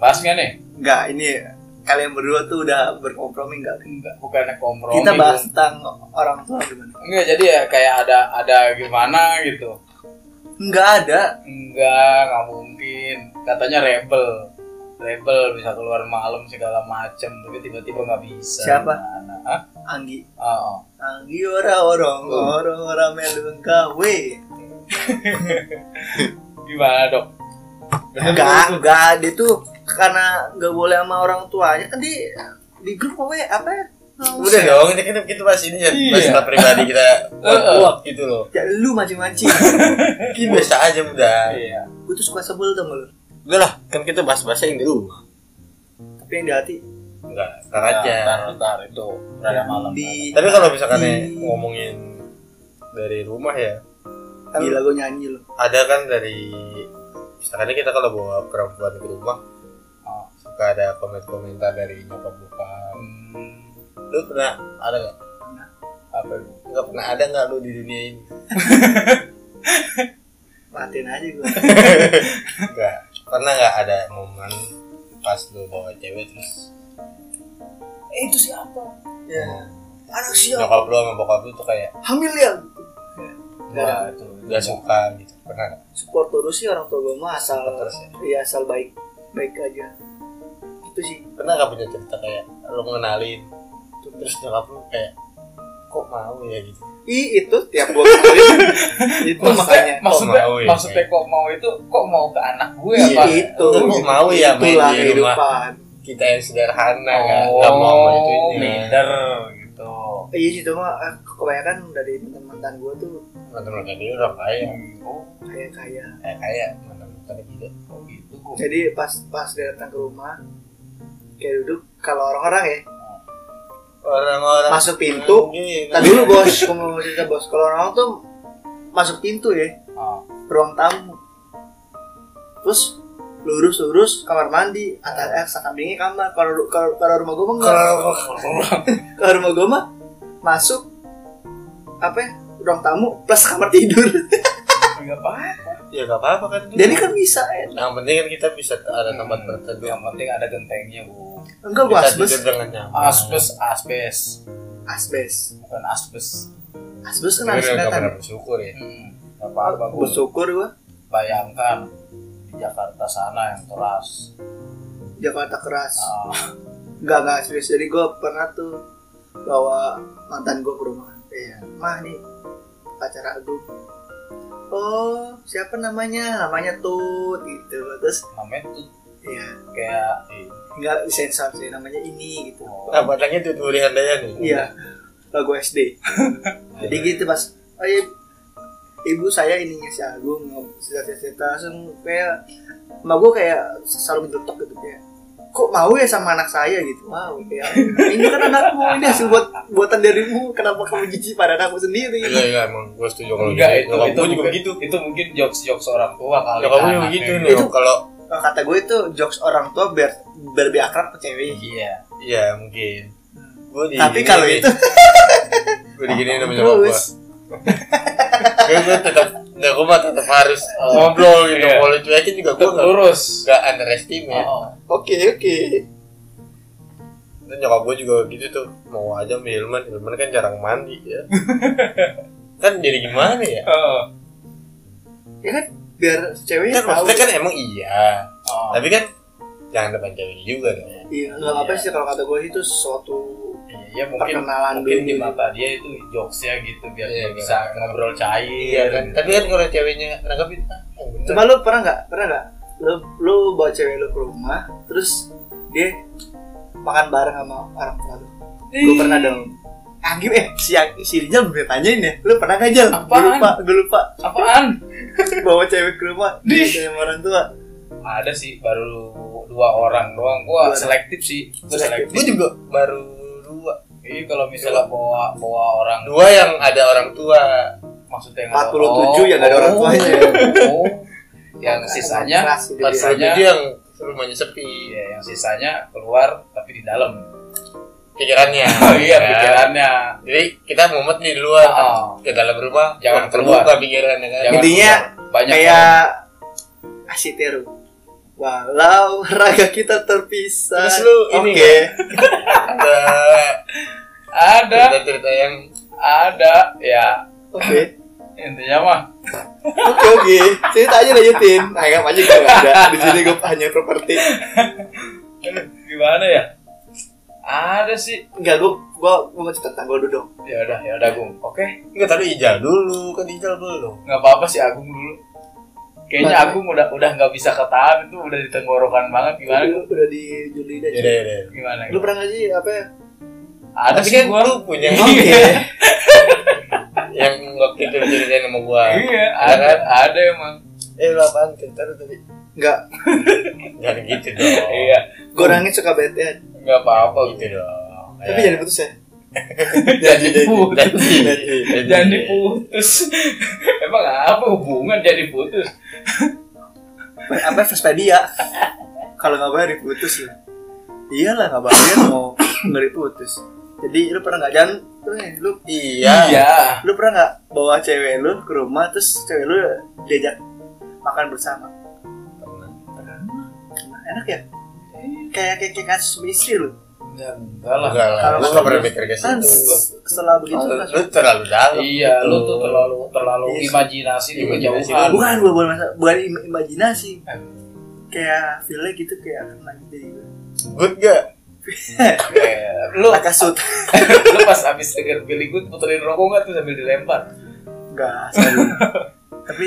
[SPEAKER 4] bahas nggak nih
[SPEAKER 1] Enggak, ini kalian berdua tuh udah berkompromi enggak?
[SPEAKER 4] enggak bukan kompromi
[SPEAKER 1] Kita bahas
[SPEAKER 4] Bung.
[SPEAKER 1] tentang orang tua gimana?
[SPEAKER 4] enggak jadi ya kayak ada ada gimana gitu
[SPEAKER 1] Enggak ada.
[SPEAKER 4] enggak nggak mungkin katanya rebel rebel bisa keluar malam segala macem tapi tiba-tiba nggak bisa
[SPEAKER 1] Siapa?
[SPEAKER 4] Gimana? Hah?
[SPEAKER 1] Anggi.
[SPEAKER 4] Oh, oh.
[SPEAKER 1] Anggi ora orang orang ora melu gawe.
[SPEAKER 4] gimana dok
[SPEAKER 1] Enggak, enggak dia tuh karena enggak boleh sama orang tuanya kan di di grup apa ya? Apa ya?
[SPEAKER 3] Udah dong, ini kita kita bahas ini ya,
[SPEAKER 4] Iya.
[SPEAKER 3] bahas masalah pribadi kita
[SPEAKER 4] Eh,
[SPEAKER 3] kuat gitu loh.
[SPEAKER 1] Ya lu mancing-mancing.
[SPEAKER 3] Ini biasa aja udah.
[SPEAKER 4] iya
[SPEAKER 1] Gue tuh suka sebel tuh sama lu.
[SPEAKER 3] Udah lah, kan kita bahas-bahas yang di rumah.
[SPEAKER 1] Tapi yang di hati
[SPEAKER 3] Enggak, ntar Nah, aja.
[SPEAKER 4] Ntar, ntar Nah, itu berada malam.
[SPEAKER 1] Iya. di
[SPEAKER 3] Tapi kalau misalkan ya,
[SPEAKER 1] Di-
[SPEAKER 3] ngomongin dari rumah ya,
[SPEAKER 1] Gila gue nyanyi lu.
[SPEAKER 3] ada kan dari misalkan kita kalau bawa perempuan ke rumah
[SPEAKER 4] Oh.
[SPEAKER 3] suka ada komen-komentar dari nyokap bokap
[SPEAKER 4] Hmm,
[SPEAKER 3] lu pernah ada nggak
[SPEAKER 4] apa itu?
[SPEAKER 3] nggak pernah ada nggak lu di dunia ini
[SPEAKER 1] Matiin aja gue.
[SPEAKER 3] nggak pernah nggak ada momen pas lu bawa cewek terus
[SPEAKER 1] eh itu siapa? Ya. Anak
[SPEAKER 4] Iya.
[SPEAKER 1] siapa?
[SPEAKER 3] nyokap lu sama bokap lu tuh kayak
[SPEAKER 1] Hamil ya?
[SPEAKER 4] Wah, itu.
[SPEAKER 3] nggak suka gitu pernah nggak?
[SPEAKER 1] Support terus Iya. sih orang tua gue mah asal
[SPEAKER 3] terus ya
[SPEAKER 1] ya asal baik baik aja. Itu sih.
[SPEAKER 3] pernah nggak punya cerita kayak lu ngenalin terus nyokap lu kayak kok mau ya gitu
[SPEAKER 1] I itu tiap gue kenalin itu
[SPEAKER 4] Maksudnya,
[SPEAKER 1] makanya.
[SPEAKER 4] maksudnya,
[SPEAKER 3] mau ya?
[SPEAKER 4] maksudnya kok mau itu kok mau ke anak gue
[SPEAKER 1] Iya,
[SPEAKER 4] apa?
[SPEAKER 1] itu.
[SPEAKER 3] Kok mau ya main
[SPEAKER 1] Itulah
[SPEAKER 3] di rumah
[SPEAKER 1] kehidupan.
[SPEAKER 3] kita yang sederhana nggak nggak mau sama itu
[SPEAKER 4] Oh, minder gitu.
[SPEAKER 1] Iya sih itu mah eh, kebanyakan dari mantan-mantan gue tuh
[SPEAKER 3] teman-teman tadi orang kaya
[SPEAKER 4] Oh,
[SPEAKER 1] kayak kaya.
[SPEAKER 3] kayak kaya teman-teman tadi juga
[SPEAKER 4] oh gitu gue.
[SPEAKER 1] Jadi pas pas dia datang ke rumah kayak duduk kalau orang-orang ya
[SPEAKER 3] orang-orang Iya,
[SPEAKER 1] masuk pintu Tadi Kan dulu bos, ngomong cerita bos. Kalau orang tuh masuk pintu ya,
[SPEAKER 4] Oh,
[SPEAKER 1] ruang tamu. Terus lurus lurus kamar mandi antara eh, sampingnya kamar kalau ru- kalau kalau rumah gue mah enggak kalau rumah gue mah masuk apa ya ruang tamu plus kamar tidur
[SPEAKER 4] ah. Enggak apa-apa.
[SPEAKER 3] ya gak apa-apa kan
[SPEAKER 1] jadi kan bisa ya.
[SPEAKER 3] yang penting kan kita bisa ada tempat berteduh
[SPEAKER 4] Yang penting ada gentengnya, Bu.
[SPEAKER 1] enggak gue
[SPEAKER 3] Kita
[SPEAKER 1] asbes
[SPEAKER 3] tidur dengan
[SPEAKER 1] Nah,
[SPEAKER 3] nyaman
[SPEAKER 4] Asbes, asbes.
[SPEAKER 1] asbes
[SPEAKER 4] Bukan asbes.
[SPEAKER 1] asbes kan harus
[SPEAKER 3] Tapi udah gak
[SPEAKER 1] kelihatan
[SPEAKER 3] pernah bersyukur ya
[SPEAKER 4] Hmm. Enggak apa-apa, Bu.
[SPEAKER 1] bersyukur gue
[SPEAKER 4] Bayangkan di Jakarta sana yang keras.
[SPEAKER 1] Jakarta keras
[SPEAKER 4] Ah,
[SPEAKER 1] Enggak, enggak serius. Jadi gue pernah tuh bawa mantan gue ke rumah. Iya, mah nih pacar aku. Oh, siapa namanya? Namanya Tut gitu. Terus
[SPEAKER 4] namanya tuh
[SPEAKER 1] ya
[SPEAKER 4] kayak
[SPEAKER 1] tinggal sensor sih namanya ini gitu.
[SPEAKER 3] nah batangnya tuh tuh lihat aja nih
[SPEAKER 1] Iya. Lagu SD. Jadi gitu pas oh iya, ibu saya ininya si Agung cerita-cerita langsung kayak emak gue kayak selalu mencetok gitu kayak kok mau ya sama anak saya gitu wow kayak ini kan anakmu ini hasil buat buatan darimu kenapa kamu jijik pada anakmu
[SPEAKER 3] Iya
[SPEAKER 1] sendiri
[SPEAKER 3] iya emang gue setuju kalau
[SPEAKER 4] enggak
[SPEAKER 3] gitu.
[SPEAKER 4] itu
[SPEAKER 3] Nyokap
[SPEAKER 4] itu
[SPEAKER 3] gua juga
[SPEAKER 4] mungkin-
[SPEAKER 3] begitu.
[SPEAKER 4] Itu mungkin jokes jokes orang tua kali. kan,
[SPEAKER 3] Nyokap gua
[SPEAKER 4] ke
[SPEAKER 3] juga
[SPEAKER 4] anaknya.
[SPEAKER 3] begitu nih. Kalau
[SPEAKER 1] Nah, kata gue itu jokes orang tua biar biar lebih akrab ke cewek
[SPEAKER 4] Iya.
[SPEAKER 3] iya mungkin. Gua di
[SPEAKER 1] tapi kalau itu
[SPEAKER 3] gue digini sama nyokap gue.
[SPEAKER 1] terus
[SPEAKER 3] Gue tetap nah gue mah tetap harus ngobrol Iya. gitu.
[SPEAKER 4] Iya.
[SPEAKER 3] Kalau cuekin juga gue
[SPEAKER 4] Tetap lurus.
[SPEAKER 3] nggak underestimate.
[SPEAKER 4] Oh,
[SPEAKER 1] oke oke
[SPEAKER 3] Dan nyokap gue juga gitu tuh mau aja sama Hilman. Hilman kan jarang mandi ya. kan jadi gimana ya?
[SPEAKER 4] oh.
[SPEAKER 1] ya kan biar ceweknya
[SPEAKER 3] Kan
[SPEAKER 1] tahu
[SPEAKER 3] maksudnya kan emang iya.
[SPEAKER 4] Oh.
[SPEAKER 3] Tapi kan jangan depan cewek juga dong.
[SPEAKER 1] iya nggak apa sih kalau kata gue itu suatu
[SPEAKER 4] Iya mungkin
[SPEAKER 1] perkenalan
[SPEAKER 4] mungkin di
[SPEAKER 1] dulu
[SPEAKER 4] mata dia itu jokesnya gitu biar
[SPEAKER 3] Iya,
[SPEAKER 4] dia bisa ngobrol cair.
[SPEAKER 3] Iya kan. Tapi kan kalau ceweknya nangkepin ah, yang bener.
[SPEAKER 1] Coba lu pernah nggak? Pernah nggak? Lu lu bawa cewek lu ke rumah, terus dia makan bareng sama orang tua lu. Gue pernah dong. Anggim eh si si Rijal gue tanyain ya. Lu pernah gak Jal? Gue
[SPEAKER 4] Apaan?
[SPEAKER 1] lupa, gue lupa.
[SPEAKER 4] Apaan?
[SPEAKER 1] Bawa cewek ke rumah,
[SPEAKER 4] Dih.
[SPEAKER 1] ditanya sama orang tua.
[SPEAKER 4] Ada sih baru dua orang doang. Gua
[SPEAKER 1] Dua
[SPEAKER 4] selektif sih. Gua
[SPEAKER 1] Selektif.
[SPEAKER 3] Gue
[SPEAKER 4] selektif.
[SPEAKER 3] juga baru dua.
[SPEAKER 4] Iya kalau misalnya bawa bawa orang
[SPEAKER 3] Dua yang ada orang tua.
[SPEAKER 4] maksudnya yang
[SPEAKER 1] 47 ya, nggak ada orang tuanya.
[SPEAKER 4] Oh. yang sisanya
[SPEAKER 1] Keras gitu dia.
[SPEAKER 4] Keras.
[SPEAKER 3] Satu
[SPEAKER 4] Biasanya-
[SPEAKER 3] dia yang rumahnya sepi
[SPEAKER 4] Iya, yang sisanya keluar tapi di dalam.
[SPEAKER 3] pikirannya.
[SPEAKER 4] Oh iya,
[SPEAKER 3] Ya.
[SPEAKER 4] pikirannya.
[SPEAKER 3] Jadi kita mumet nih di luar
[SPEAKER 4] Oh.
[SPEAKER 3] ke dalam rumah
[SPEAKER 4] Jangan
[SPEAKER 3] jangan
[SPEAKER 4] keluar.
[SPEAKER 3] terbuka pikirannya kan.
[SPEAKER 4] Jangan
[SPEAKER 1] Intinya,
[SPEAKER 4] keluar. banyak orang.
[SPEAKER 1] Kayak asih teru. Walau raga kita terpisah.
[SPEAKER 3] Terus lu ini kan?
[SPEAKER 1] Oke.
[SPEAKER 3] Ada
[SPEAKER 4] ada
[SPEAKER 3] cerita-cerita yang
[SPEAKER 4] ada ya
[SPEAKER 1] Oke.
[SPEAKER 4] intinya mah
[SPEAKER 1] Oke oke. Cerita aja lanjutin. Anggap aja gue nggak ada. Di sini gue hanya properti.
[SPEAKER 4] aduh, gimana ya ada sih
[SPEAKER 1] Enggak, gue gue gue mau cerita tentang gue dulu dong.
[SPEAKER 4] ya udah ya udah Agung oke
[SPEAKER 3] enggak tahu Ijal dulu kan Ijal belum.
[SPEAKER 4] nggak apa apa sih Agung dulu kayaknya
[SPEAKER 1] Mana?
[SPEAKER 4] Agung udah udah nggak bisa ketahan itu udah di tenggorokan banget gimana
[SPEAKER 1] Lu udah di Juli
[SPEAKER 3] Ya
[SPEAKER 1] aja.
[SPEAKER 3] udah ya udah.
[SPEAKER 4] gimana
[SPEAKER 1] Lu pernah nggak sih apa? ya?
[SPEAKER 4] ada
[SPEAKER 3] Tapi
[SPEAKER 4] sih
[SPEAKER 3] kan
[SPEAKER 4] gua Iya.
[SPEAKER 3] lu punya yang waktu itu ceritain sama gua.
[SPEAKER 4] iya
[SPEAKER 3] Ada kan?
[SPEAKER 4] ada ada emang
[SPEAKER 3] Eh lu apaan cerita lu tadi?
[SPEAKER 1] Enggak.
[SPEAKER 3] Jangan gitu dong.
[SPEAKER 4] iya
[SPEAKER 1] Gue orangnya suka bete.
[SPEAKER 4] nggak apa apa
[SPEAKER 3] Gitu dong.
[SPEAKER 1] Tapi
[SPEAKER 3] Ya.
[SPEAKER 1] jangan putus ya.
[SPEAKER 4] jadi putus
[SPEAKER 3] Jadi
[SPEAKER 4] jadi putus emang apa hubungan jadi putus
[SPEAKER 1] Apa Vespedia? Kalau nggak bayar diputus ya. Iyalah nggak bayar mau nggak diputus. Jadi lu pernah nggak jangan tuh nih, lu
[SPEAKER 3] Iya.
[SPEAKER 4] iya
[SPEAKER 1] lu pernah nggak bawa cewek lu ke rumah terus cewek lu diajak makan bersama? Nah, enak ya? Kayak kayak kayak kasus sama istri lu.
[SPEAKER 4] enggak Ya, enggak lah
[SPEAKER 3] Enggak lah, lu gak pernah mikir ke
[SPEAKER 1] Kan
[SPEAKER 3] situ.
[SPEAKER 1] setelah begitu kan
[SPEAKER 3] Lu
[SPEAKER 1] langsung
[SPEAKER 3] lu terlalu dalam.
[SPEAKER 4] Iya, lu tuh terlalu terlalu
[SPEAKER 1] Iya sih.
[SPEAKER 4] imajinasi di
[SPEAKER 3] Imajinasi
[SPEAKER 4] kejauhan.
[SPEAKER 3] lu.
[SPEAKER 1] bukan bukan bukan, masa- bukan im- imajinasi kayak feelnya gitu kayak kena gitu juga
[SPEAKER 3] Good gak?
[SPEAKER 4] Iya. Lu
[SPEAKER 1] kasut
[SPEAKER 4] lu pas abis denger Billy Good puterin rokok nggak tuh sambil dilempar?
[SPEAKER 1] enggak sorry. tapi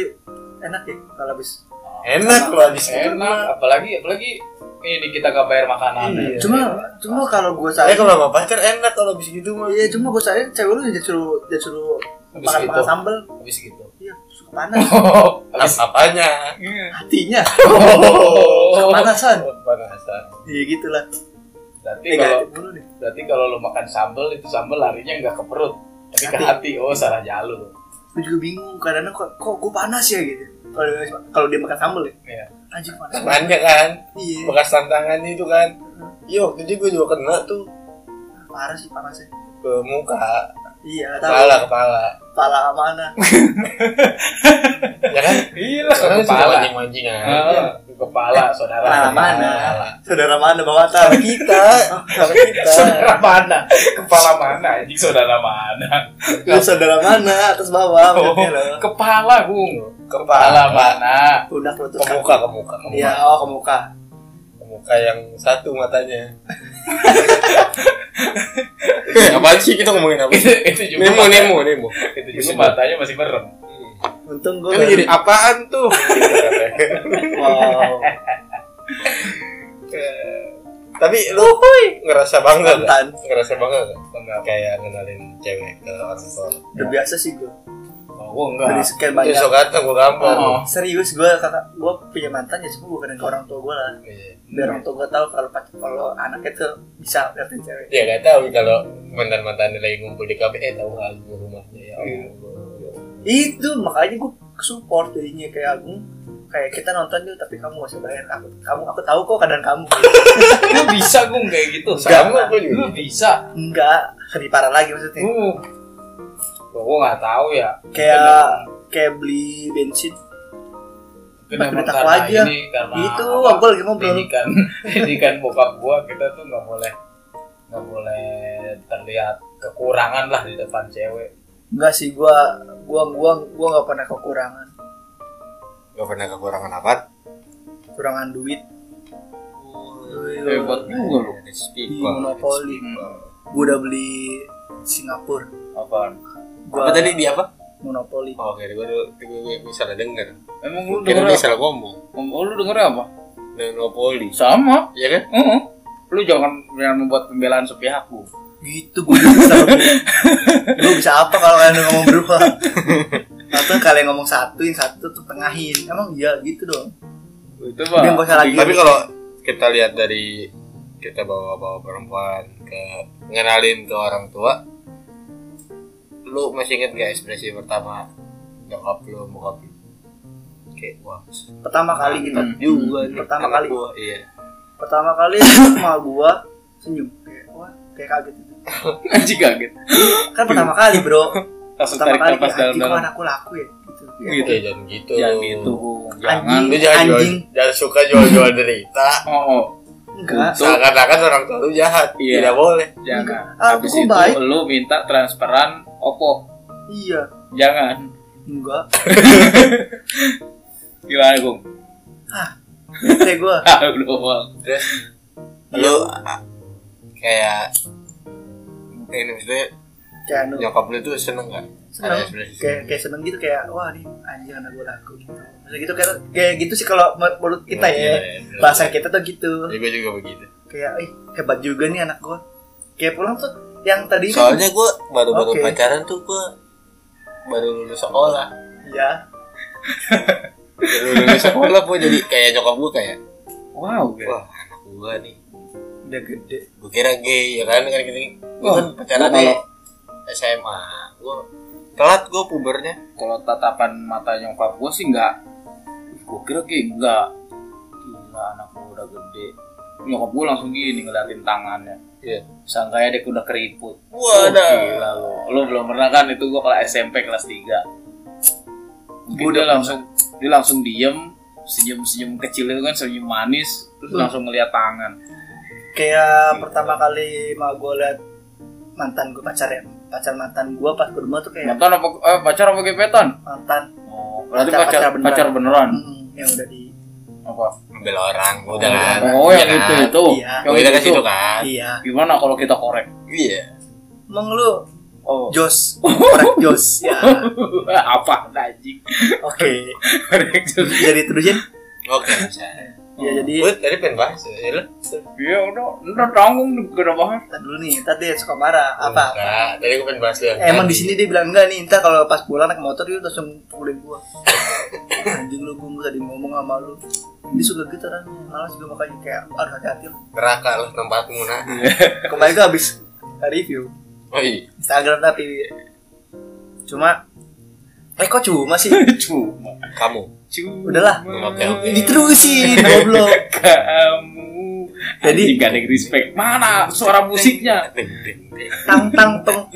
[SPEAKER 1] enak ya kalau habis
[SPEAKER 3] Enak lu habis itu.
[SPEAKER 4] Enak, apalagi apalagi ini kita nggak bayar makanan. ya.
[SPEAKER 3] Iya.
[SPEAKER 1] cuma cuma kalau gue
[SPEAKER 3] Saya
[SPEAKER 1] sadar
[SPEAKER 3] kalau sama pacar enak kalau habis gitu mah.
[SPEAKER 1] iya cuma gue sadar cewek lu jadi suruh jadi suruh
[SPEAKER 4] Habis
[SPEAKER 1] makan
[SPEAKER 4] gitu.
[SPEAKER 1] makan sambel
[SPEAKER 4] Habis gitu.
[SPEAKER 1] iya suka panas
[SPEAKER 4] Habis.
[SPEAKER 3] apanya?
[SPEAKER 1] hatinya
[SPEAKER 4] Oh.
[SPEAKER 1] panasan
[SPEAKER 3] Panasan.
[SPEAKER 1] iya gitulah eh
[SPEAKER 4] Berarti kalau
[SPEAKER 1] ganti dulu nih
[SPEAKER 4] berarti kalau lu makan sambel itu sambel larinya nggak ke perut, tapi ke
[SPEAKER 1] Hati.
[SPEAKER 4] hati. Oh, salah jalur.
[SPEAKER 1] gue juga bingung kadang-kadang kok kok gue panas ya gitu kalau kalau dia makan sambal ya
[SPEAKER 4] Iya.
[SPEAKER 1] anjing panas banget
[SPEAKER 3] manja kan
[SPEAKER 1] iya
[SPEAKER 3] bekas tantangan itu kan iya waktu itu gue juga kena tuh
[SPEAKER 1] parah sih panasnya
[SPEAKER 3] ke muka
[SPEAKER 1] iya nggak tahu
[SPEAKER 3] kepala kepala
[SPEAKER 1] kepala mana
[SPEAKER 3] ya kan
[SPEAKER 4] Iya
[SPEAKER 3] karena suka kan?
[SPEAKER 4] kepala.
[SPEAKER 3] mancing mancingan
[SPEAKER 4] Ah, kepala saudara.
[SPEAKER 1] Kepala mana?
[SPEAKER 3] Kepala.
[SPEAKER 1] saudara mana bawa tahu
[SPEAKER 3] kita sama kita
[SPEAKER 4] Saudara mana? Kepala mana? Anjing saudara mana?
[SPEAKER 1] Lu saudara mana atas bawah
[SPEAKER 4] Oh,
[SPEAKER 1] maksudnya lo
[SPEAKER 4] kepala Bung.
[SPEAKER 3] kepala
[SPEAKER 4] mana?
[SPEAKER 1] udah lutut
[SPEAKER 3] ke muka ke muka ke muka,
[SPEAKER 1] iya oh ke muka
[SPEAKER 3] ke muka yang satu matanya apa sih kita ngomongin apa
[SPEAKER 4] itu itu juga.
[SPEAKER 3] Nemo,
[SPEAKER 4] matanya-
[SPEAKER 3] Nemo, Nemo.
[SPEAKER 4] Itu juga matanya masih merem.
[SPEAKER 1] untung gue
[SPEAKER 3] Kan jadi apaan tuh?
[SPEAKER 1] wow
[SPEAKER 3] Tapi lu ngerasa bangga gak?
[SPEAKER 1] mantan
[SPEAKER 3] Ngerasa bangga gak? Sama kayak ngenalin cewek ke orang tua.
[SPEAKER 1] udah biasa sih gue
[SPEAKER 4] Oh, gua
[SPEAKER 1] dari
[SPEAKER 4] enggak.
[SPEAKER 1] sekian
[SPEAKER 3] Itu
[SPEAKER 1] banyak
[SPEAKER 3] sokat gue gampang.
[SPEAKER 4] Oh.
[SPEAKER 1] serius gue kata gue punya mantan ya semua gue kenalin ke orang tua gue lah
[SPEAKER 3] Iya.
[SPEAKER 1] biar orang tua gue tahu kalau pac- kalau anaknya tuh bisa dapetin cewek
[SPEAKER 3] Ya gak tahu kalau mantan-mantan lagi ngumpul di kafe, eh tahu nggak gue rumahnya ya. Allah.
[SPEAKER 1] Iya. itu makanya gue support jadinya kayak Agung kayak kita nonton yuk tapi kamu gak usah bayar aku kamu aku tahu kok keadaan kamu
[SPEAKER 4] Lu bisa Bung kayak gitu.
[SPEAKER 3] Sama
[SPEAKER 4] Sama.
[SPEAKER 3] gue
[SPEAKER 4] Lu
[SPEAKER 3] juga.
[SPEAKER 4] bisa.
[SPEAKER 1] enggak lebih parah lagi maksudnya
[SPEAKER 4] Uh. Gua gua enggak tahu ya.
[SPEAKER 1] Eh. kayak kayak beli bensin Pakai
[SPEAKER 4] Kenapa
[SPEAKER 1] detak
[SPEAKER 4] karena
[SPEAKER 1] aja.
[SPEAKER 4] ini karena
[SPEAKER 1] itu
[SPEAKER 4] apa?
[SPEAKER 1] aku Gitu, lagi ngobrol
[SPEAKER 4] pendidikan pendidikan kan bokap gua kita tuh nggak boleh nggak boleh terlihat kekurangan lah di depan cewek
[SPEAKER 1] enggak sih gua gua gua gua nggak pernah kekurangan
[SPEAKER 3] Gak pernah kekurangan apa?
[SPEAKER 1] kekurangan duit
[SPEAKER 2] Hebat juga lu.
[SPEAKER 1] di monopoli gua udah beli Singapura
[SPEAKER 4] apa
[SPEAKER 1] gua
[SPEAKER 3] di apa?
[SPEAKER 1] monopoli
[SPEAKER 3] Oh, kira gue gue bisa denger.
[SPEAKER 2] Emang lu
[SPEAKER 3] Kira
[SPEAKER 2] denger
[SPEAKER 3] gue
[SPEAKER 2] apa?
[SPEAKER 3] salah ngomong.
[SPEAKER 2] Om- lu denger apa?
[SPEAKER 3] Monopoli.
[SPEAKER 2] Sama.
[SPEAKER 3] Iya kan?
[SPEAKER 2] Heeh. Lu jangan jangan membuat pembelaan sepihak lu.
[SPEAKER 1] gitu gua juga bisa gua bisa apa kalau kalian ngomong berubah atau kalian ngomong satu yang satu tuh tengahin emang iya gitu dong
[SPEAKER 2] Itu
[SPEAKER 1] udah
[SPEAKER 2] mah.
[SPEAKER 1] nggak usah lagi
[SPEAKER 3] Tapi kalau kita lihat dari kita bawa-bawa perempuan ke ngenalin ke orang tua, lu masih inget gak ekspresi pertama nyokap lu, bokap lu? Kayak wah,
[SPEAKER 1] pertama kali gitu
[SPEAKER 2] Hmm.
[SPEAKER 3] juga
[SPEAKER 1] nih, pertama kali.
[SPEAKER 3] Gua, iya.
[SPEAKER 1] pertama kali sama gua senyum kayak wah kayak kaget gitu.
[SPEAKER 2] Anjing kaget.
[SPEAKER 1] kan pertama kali bro
[SPEAKER 2] Langsung
[SPEAKER 1] pertama
[SPEAKER 2] tarik
[SPEAKER 1] kali ya,
[SPEAKER 2] nafas
[SPEAKER 1] kayak, anjing kok
[SPEAKER 2] dalam-dalam.
[SPEAKER 1] anakku laku ya gitu
[SPEAKER 2] Gitu.
[SPEAKER 3] Oke, jangan gitu.
[SPEAKER 2] Jangan gitu. Bung. Jangan.
[SPEAKER 1] Anjing.
[SPEAKER 3] Lu jangan jual,
[SPEAKER 1] Anjing.
[SPEAKER 3] jangan suka jual-jual derita.
[SPEAKER 2] Oh, oh.
[SPEAKER 1] enggak
[SPEAKER 2] Tuh.
[SPEAKER 3] Seakan-akan orang tua lu jahat,
[SPEAKER 2] Iya.
[SPEAKER 3] tidak boleh.
[SPEAKER 2] jangan.
[SPEAKER 1] Ah,
[SPEAKER 2] Habis
[SPEAKER 1] aku
[SPEAKER 2] itu
[SPEAKER 1] baik.
[SPEAKER 2] lu minta transferan Oppo.
[SPEAKER 1] iya
[SPEAKER 2] Jangan.
[SPEAKER 1] enggak
[SPEAKER 2] Gimana, Gung?
[SPEAKER 1] bete Ah. gua
[SPEAKER 2] Ah, lu doang.
[SPEAKER 3] terus lu ah, kayak ini maksudnya
[SPEAKER 1] kayak anu
[SPEAKER 3] nyokap lu tuh seneng gak?
[SPEAKER 1] seneng kayak kayak seneng gitu kayak wah nih anjing anak gua laku gitu Maksudnya gitu kayak kayak gitu sih kalau menurut kita
[SPEAKER 2] Iya,
[SPEAKER 3] Iya,
[SPEAKER 1] ya bahasa kita tuh gitu
[SPEAKER 3] ya, gue juga begitu
[SPEAKER 1] kayak eh hebat juga nih anak gua kayak pulang tuh yang tadi kan
[SPEAKER 3] soalnya gue baru-baru
[SPEAKER 1] Oke.
[SPEAKER 3] pacaran tuh gue baru lulus sekolah
[SPEAKER 1] ya
[SPEAKER 3] baru lulus sekolah gue jadi kayak nyokap gue kayak
[SPEAKER 2] Wow, gitu.
[SPEAKER 3] wah anak gue nih
[SPEAKER 1] udah gede
[SPEAKER 3] gue Iya. kira gay ya kan kan gitu gue
[SPEAKER 2] Wah,
[SPEAKER 3] kan pacaran
[SPEAKER 2] gua
[SPEAKER 3] nih SMA gue telat gue pubernya
[SPEAKER 2] kalau tatapan mata nyokap gue sih enggak gue kira kayak enggak gila anak gue udah gede nyokap gue langsung gini ngeliatin tangannya
[SPEAKER 3] Iya.
[SPEAKER 2] sangkanya dia udah keriput
[SPEAKER 3] Wah,
[SPEAKER 2] Lu
[SPEAKER 3] dah.
[SPEAKER 2] gila lo lo belum pernah kan itu gue kalau SMP kelas 3 Mungkin
[SPEAKER 1] Gua
[SPEAKER 2] dia
[SPEAKER 1] udah
[SPEAKER 2] langsung dia langsung diem senyum senyum kecil itu kan senyum manis terus
[SPEAKER 1] Hmm.
[SPEAKER 2] langsung ngeliat tangan
[SPEAKER 1] kayak pertama kali mah gua liat mantan gua pacar ya pacar mantan gua pas ke rumah tuh kayak
[SPEAKER 2] mantan apa eh, pacar apa gebetan
[SPEAKER 1] mantan
[SPEAKER 2] oh berarti
[SPEAKER 1] Pacar-
[SPEAKER 2] pacar
[SPEAKER 1] pacar
[SPEAKER 2] pacar,
[SPEAKER 1] beneran.
[SPEAKER 2] beneran
[SPEAKER 1] hmm, yang udah di
[SPEAKER 2] apa
[SPEAKER 3] ambil orang gue udah kan
[SPEAKER 4] ya,
[SPEAKER 2] oh yang
[SPEAKER 4] gitu,
[SPEAKER 3] Iya
[SPEAKER 2] itu
[SPEAKER 3] kan?
[SPEAKER 2] itu
[SPEAKER 1] Iya.
[SPEAKER 2] yang
[SPEAKER 3] gue
[SPEAKER 2] itu,
[SPEAKER 3] udah ke situ
[SPEAKER 2] itu.
[SPEAKER 3] kan
[SPEAKER 1] iya
[SPEAKER 2] gimana kalau kita korek
[SPEAKER 3] iya
[SPEAKER 1] emang lu
[SPEAKER 2] oh
[SPEAKER 1] jos korek jos ya
[SPEAKER 2] apa anjing
[SPEAKER 1] oke
[SPEAKER 2] Correct.
[SPEAKER 1] jadi terusin
[SPEAKER 3] oke bisa
[SPEAKER 1] ya jadi
[SPEAKER 3] Gue tadi pengen bahas ya lu.
[SPEAKER 4] Iya,
[SPEAKER 2] ya udah udah tanggung udah bahas
[SPEAKER 1] ntar dulu nih ntar dia suka marah apa Eh,
[SPEAKER 3] Enggak, Nah, tadi gue pengen bahas lu. yang
[SPEAKER 1] emang di
[SPEAKER 3] tadi.
[SPEAKER 1] sini dia bilang enggak nih ntar kalau pas pulang naik motor dia langsung pukulin gua anjing lu gua tadi ngomong sama lu dia suka gitu orangnya malas juga makanya kayak harus hati-hati lu
[SPEAKER 3] neraka lu tempatmu nah.
[SPEAKER 1] kemarin gua habis review
[SPEAKER 3] Oi.
[SPEAKER 1] Instagram tapi cuma eh kok cuma sih
[SPEAKER 2] cuma
[SPEAKER 3] Kamu.
[SPEAKER 4] Cuma
[SPEAKER 1] Udahlah.
[SPEAKER 3] Oke, oke.
[SPEAKER 1] Diterusin goblok.
[SPEAKER 4] kamu
[SPEAKER 1] Jadi-
[SPEAKER 4] jadi gak ada yang respect mana suara musiknya
[SPEAKER 3] Ding, ding, ding.
[SPEAKER 1] Tang tang tong.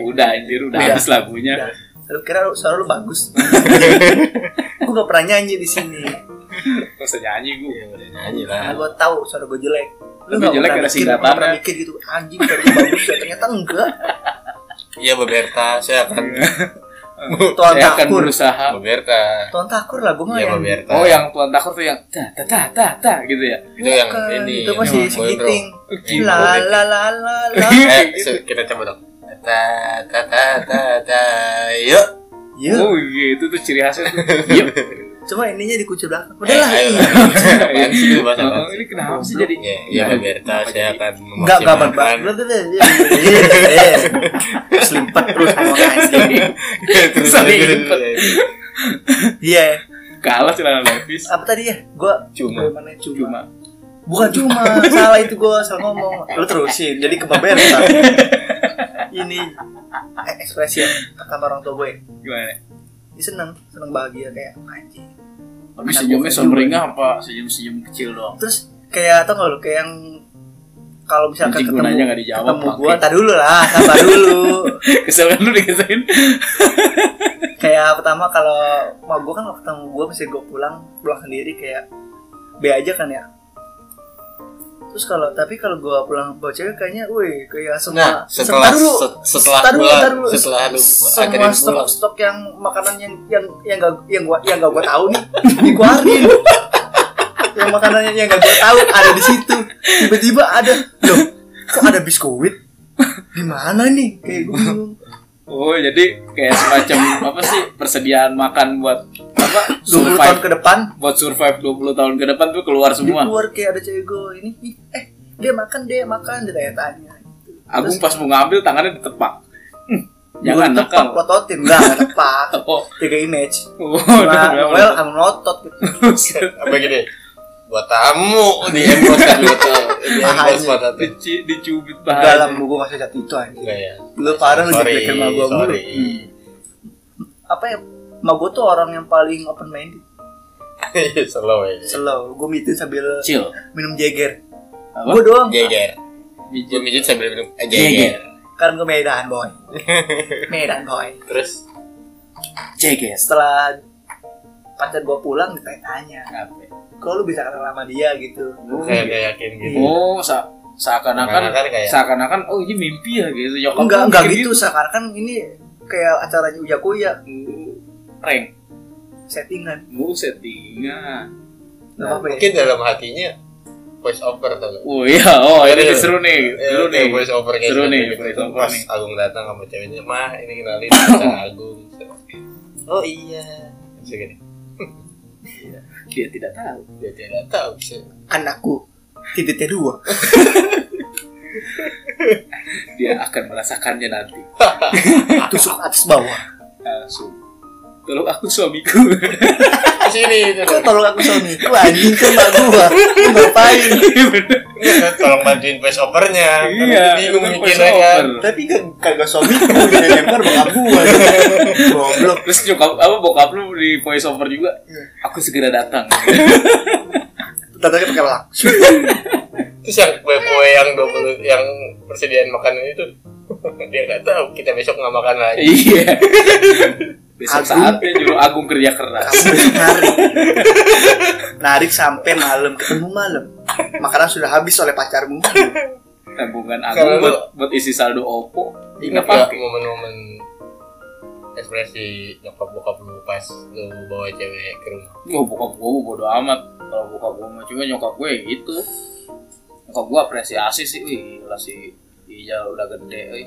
[SPEAKER 4] udah anjir
[SPEAKER 1] Udah.
[SPEAKER 4] udah habis lagunya
[SPEAKER 1] Lu kira lu- suara lu bagus. Gua gak pernah nyanyi di sini.
[SPEAKER 4] terus nyanyi gue
[SPEAKER 1] Iya,
[SPEAKER 3] Ya, udah nyanyi
[SPEAKER 1] Karena
[SPEAKER 3] lah.
[SPEAKER 1] gua tahu suara gua jelek.
[SPEAKER 4] Lu
[SPEAKER 1] nggak
[SPEAKER 4] jelek
[SPEAKER 1] pernah
[SPEAKER 4] ada
[SPEAKER 1] mikir, nggak
[SPEAKER 4] singkatannya.
[SPEAKER 1] pernah mikir gitu anjing suara gua bagus ya ternyata enggak.
[SPEAKER 3] Iya Beberta, saya akan
[SPEAKER 1] Tuan
[SPEAKER 4] saya akan
[SPEAKER 1] Takur.
[SPEAKER 4] berusaha
[SPEAKER 3] Beberta.
[SPEAKER 1] Tuan takur lah gua mah
[SPEAKER 3] Iya
[SPEAKER 1] yang
[SPEAKER 3] Beberta.
[SPEAKER 4] oh yang tuan takur tuh yang ta ta ta ta ta gitu ya
[SPEAKER 3] itu yang
[SPEAKER 1] Bukan,
[SPEAKER 3] ini.
[SPEAKER 1] itu
[SPEAKER 3] yang
[SPEAKER 1] masih
[SPEAKER 3] boy bro.
[SPEAKER 1] segiting.
[SPEAKER 3] Yang
[SPEAKER 1] La
[SPEAKER 3] boy band.
[SPEAKER 1] la la la la.
[SPEAKER 3] Eh,
[SPEAKER 4] Gitu.
[SPEAKER 3] se- kita coba dong. Ta ta ta ta ta. Yuk.
[SPEAKER 1] Iya.
[SPEAKER 4] oh iya itu tuh ciri khasnya tuh
[SPEAKER 3] Iya,
[SPEAKER 4] Yup.
[SPEAKER 1] Cuma ininya dikucil belakang. Udahlah.
[SPEAKER 3] Eh,
[SPEAKER 1] ih.
[SPEAKER 3] ayo. Apaan sih itu bahasa
[SPEAKER 4] Oh,
[SPEAKER 3] apaan sih?
[SPEAKER 4] ini kenapa sih jadi
[SPEAKER 3] Ya, ya Beberta, saya akan
[SPEAKER 1] Enggak enggak
[SPEAKER 3] memaksimalkan.
[SPEAKER 1] banget. Selimpet terus ngomong anjing.
[SPEAKER 3] Iya. Terus
[SPEAKER 4] Sorry,
[SPEAKER 3] terus,
[SPEAKER 4] impet.
[SPEAKER 3] terus.
[SPEAKER 1] Iya.
[SPEAKER 4] kalah celana levis
[SPEAKER 1] Apa tadi ya? Gua
[SPEAKER 3] Cuma.
[SPEAKER 1] Mana cuma.
[SPEAKER 4] cuma
[SPEAKER 1] Bukan cuma, salah itu gua salah ngomong. Lu terusin, jadi kebeberan. Ini eh, ekspresi yang pertama orang tua gue.
[SPEAKER 4] gimana
[SPEAKER 1] Dia seneng, seneng bahagia kayak anjing.
[SPEAKER 4] tapi senyumnya sumringah apa senyum senyum kecil doang
[SPEAKER 1] Terus kayak tau gak lu kayak yang kalau misalkan
[SPEAKER 4] Anjing, gua
[SPEAKER 1] ketemu
[SPEAKER 4] nanya nggak dijawab,
[SPEAKER 1] ketemu
[SPEAKER 4] bangke.
[SPEAKER 1] gua, tar dulu lah, sabar dulu.
[SPEAKER 4] kesel kan lu dikeselin
[SPEAKER 1] kayak pertama kalau mau gua kan kalau ketemu gua mesti gua pulang pulang sendiri kayak B aja kan ya. Terus kalau tapi kalau gua pulang bawa cewek kayaknya, wih kayak semua
[SPEAKER 3] Nah, setelah
[SPEAKER 1] Tar dulu,
[SPEAKER 3] se- setelah
[SPEAKER 1] Tar dulu,
[SPEAKER 3] pulang,
[SPEAKER 1] tar dulu.
[SPEAKER 3] setelah lu
[SPEAKER 1] semua
[SPEAKER 3] akhirnya
[SPEAKER 1] stok
[SPEAKER 3] pulang.
[SPEAKER 1] stok yang makanan yang yang yang gak yang gua yang gak gua tahu nih dikeluarin yang makanannya yang gak gua tahu ada di situ tiba-tiba ada loh kok ada biskuit di mana nih kayak gue bingung
[SPEAKER 4] oh jadi kayak semacam apa sih persediaan makan buat apa
[SPEAKER 1] 20 tahun
[SPEAKER 4] survive
[SPEAKER 1] ke depan
[SPEAKER 4] buat survive 20 tahun ke depan tuh keluar
[SPEAKER 1] dia
[SPEAKER 4] semua
[SPEAKER 1] keluar kayak ada cewek gue ini ih, eh dia makan dia makan dia tanya-tanya
[SPEAKER 4] Agung pas mau ngambil tangannya ditepak Hmm, jangan
[SPEAKER 1] Gua
[SPEAKER 4] nakal
[SPEAKER 1] tepak plototin enggak enggak tepak
[SPEAKER 4] oh
[SPEAKER 1] tiga image
[SPEAKER 4] oh
[SPEAKER 1] Nah, Noel sama notot gitu.
[SPEAKER 3] Apa gini? Buat tamu di embos kan buat tamu. Di embos buat tamu.
[SPEAKER 4] Dici, dicubit
[SPEAKER 1] Enggak lah,
[SPEAKER 4] pahala
[SPEAKER 1] gue kasih cat itu anjing.
[SPEAKER 3] Enggak ya.
[SPEAKER 1] Lu parah lu
[SPEAKER 3] Sorry,
[SPEAKER 1] jelekin sama gua mulu.
[SPEAKER 3] sorry.
[SPEAKER 2] Hmm.
[SPEAKER 1] apa ya mak gue tuh orang yang paling open minded
[SPEAKER 3] Slow ya.
[SPEAKER 1] slow gue meeting sambil
[SPEAKER 4] kecil
[SPEAKER 1] minum jager
[SPEAKER 4] Apa? Iya,
[SPEAKER 1] gue doang
[SPEAKER 3] Jeger. Gue
[SPEAKER 4] Mijit.
[SPEAKER 3] mijit sambil minum eh,
[SPEAKER 4] Jeger.
[SPEAKER 3] jeger.
[SPEAKER 1] karena gue Kan Medan boy Medan boy
[SPEAKER 3] Terus
[SPEAKER 4] Jeges
[SPEAKER 1] setelah pacar gue pulang ditanya kok lu bisa kenal sama dia gitu
[SPEAKER 2] Hmm.
[SPEAKER 3] kayak gak yakin gitu.
[SPEAKER 4] oh sa-
[SPEAKER 2] Nah, kan
[SPEAKER 4] seakan-akan
[SPEAKER 3] Seakan-akan kayak-
[SPEAKER 4] seakan-akan oh ini mimpi ya gitu nyokap
[SPEAKER 1] enggak
[SPEAKER 4] gua
[SPEAKER 1] enggak
[SPEAKER 4] mikir
[SPEAKER 1] gitu sekarang kan ini kayak acaranya uya kuya
[SPEAKER 4] prank
[SPEAKER 1] settingan
[SPEAKER 4] mau settingan
[SPEAKER 1] nggak apa ya
[SPEAKER 3] Mungkin dalam hatinya voice over tau gak?
[SPEAKER 4] oh iya oh ini
[SPEAKER 3] Serius.
[SPEAKER 4] seru nih
[SPEAKER 3] Ya,
[SPEAKER 4] seru nih
[SPEAKER 3] kayak voice over kayak
[SPEAKER 4] Seru
[SPEAKER 3] gitu,
[SPEAKER 4] nih,
[SPEAKER 3] gitu.
[SPEAKER 4] voice over
[SPEAKER 3] Mas
[SPEAKER 4] nih.
[SPEAKER 3] Agung datang sama ceweknya, mah ini kenalin pacar Agung. Oh iya. Terus gini,
[SPEAKER 4] dia tidak tahu
[SPEAKER 3] dia tidak tahu. sih.
[SPEAKER 1] anakku titiknya dua
[SPEAKER 4] dia akan merasakannya nanti
[SPEAKER 1] tusuk atas bawah
[SPEAKER 4] langsung tolong aku suamiku
[SPEAKER 3] Sini,
[SPEAKER 1] kok tolong aku suamiku anjing ke mak gue Lu ngapain
[SPEAKER 3] Iya, kan tolong bantuin voice overnya.
[SPEAKER 4] iya
[SPEAKER 3] bingung
[SPEAKER 4] bener,
[SPEAKER 3] mikirnya
[SPEAKER 4] voice
[SPEAKER 3] kan.
[SPEAKER 4] over.
[SPEAKER 1] tapi gak kagak suami gue udah lempar bakal gue goblok
[SPEAKER 4] terus nyokap apa bokap lu di voice over juga
[SPEAKER 3] Iya.
[SPEAKER 4] aku segera datang
[SPEAKER 1] Tantanya pakai langsung
[SPEAKER 3] Terus yang kue-kue yang 20 yang persediaan makanan itu dia nggak tahu kita besok nggak makan lagi.
[SPEAKER 4] iya besok
[SPEAKER 1] Agung.
[SPEAKER 4] saatnya nyuruh Agung kerja keras
[SPEAKER 1] kamu narik narik sampai malam ketemu malam makanan sudah habis oleh pacarmu
[SPEAKER 4] tabungan Agung
[SPEAKER 3] Kalau lu-
[SPEAKER 4] buat buat isi saldo Oppo nggak
[SPEAKER 3] Ingat nggak
[SPEAKER 4] pakai
[SPEAKER 3] momen-momen ekspresi nyokap bokap lu pas lu bawa cewek ke rumah?
[SPEAKER 4] Wah bokap gue bodo amat Kalau bokap gue mah cuma nyokap gue ya gitu Nyokap gue apresiasi sih Wih gila sih Iya udah gede eh.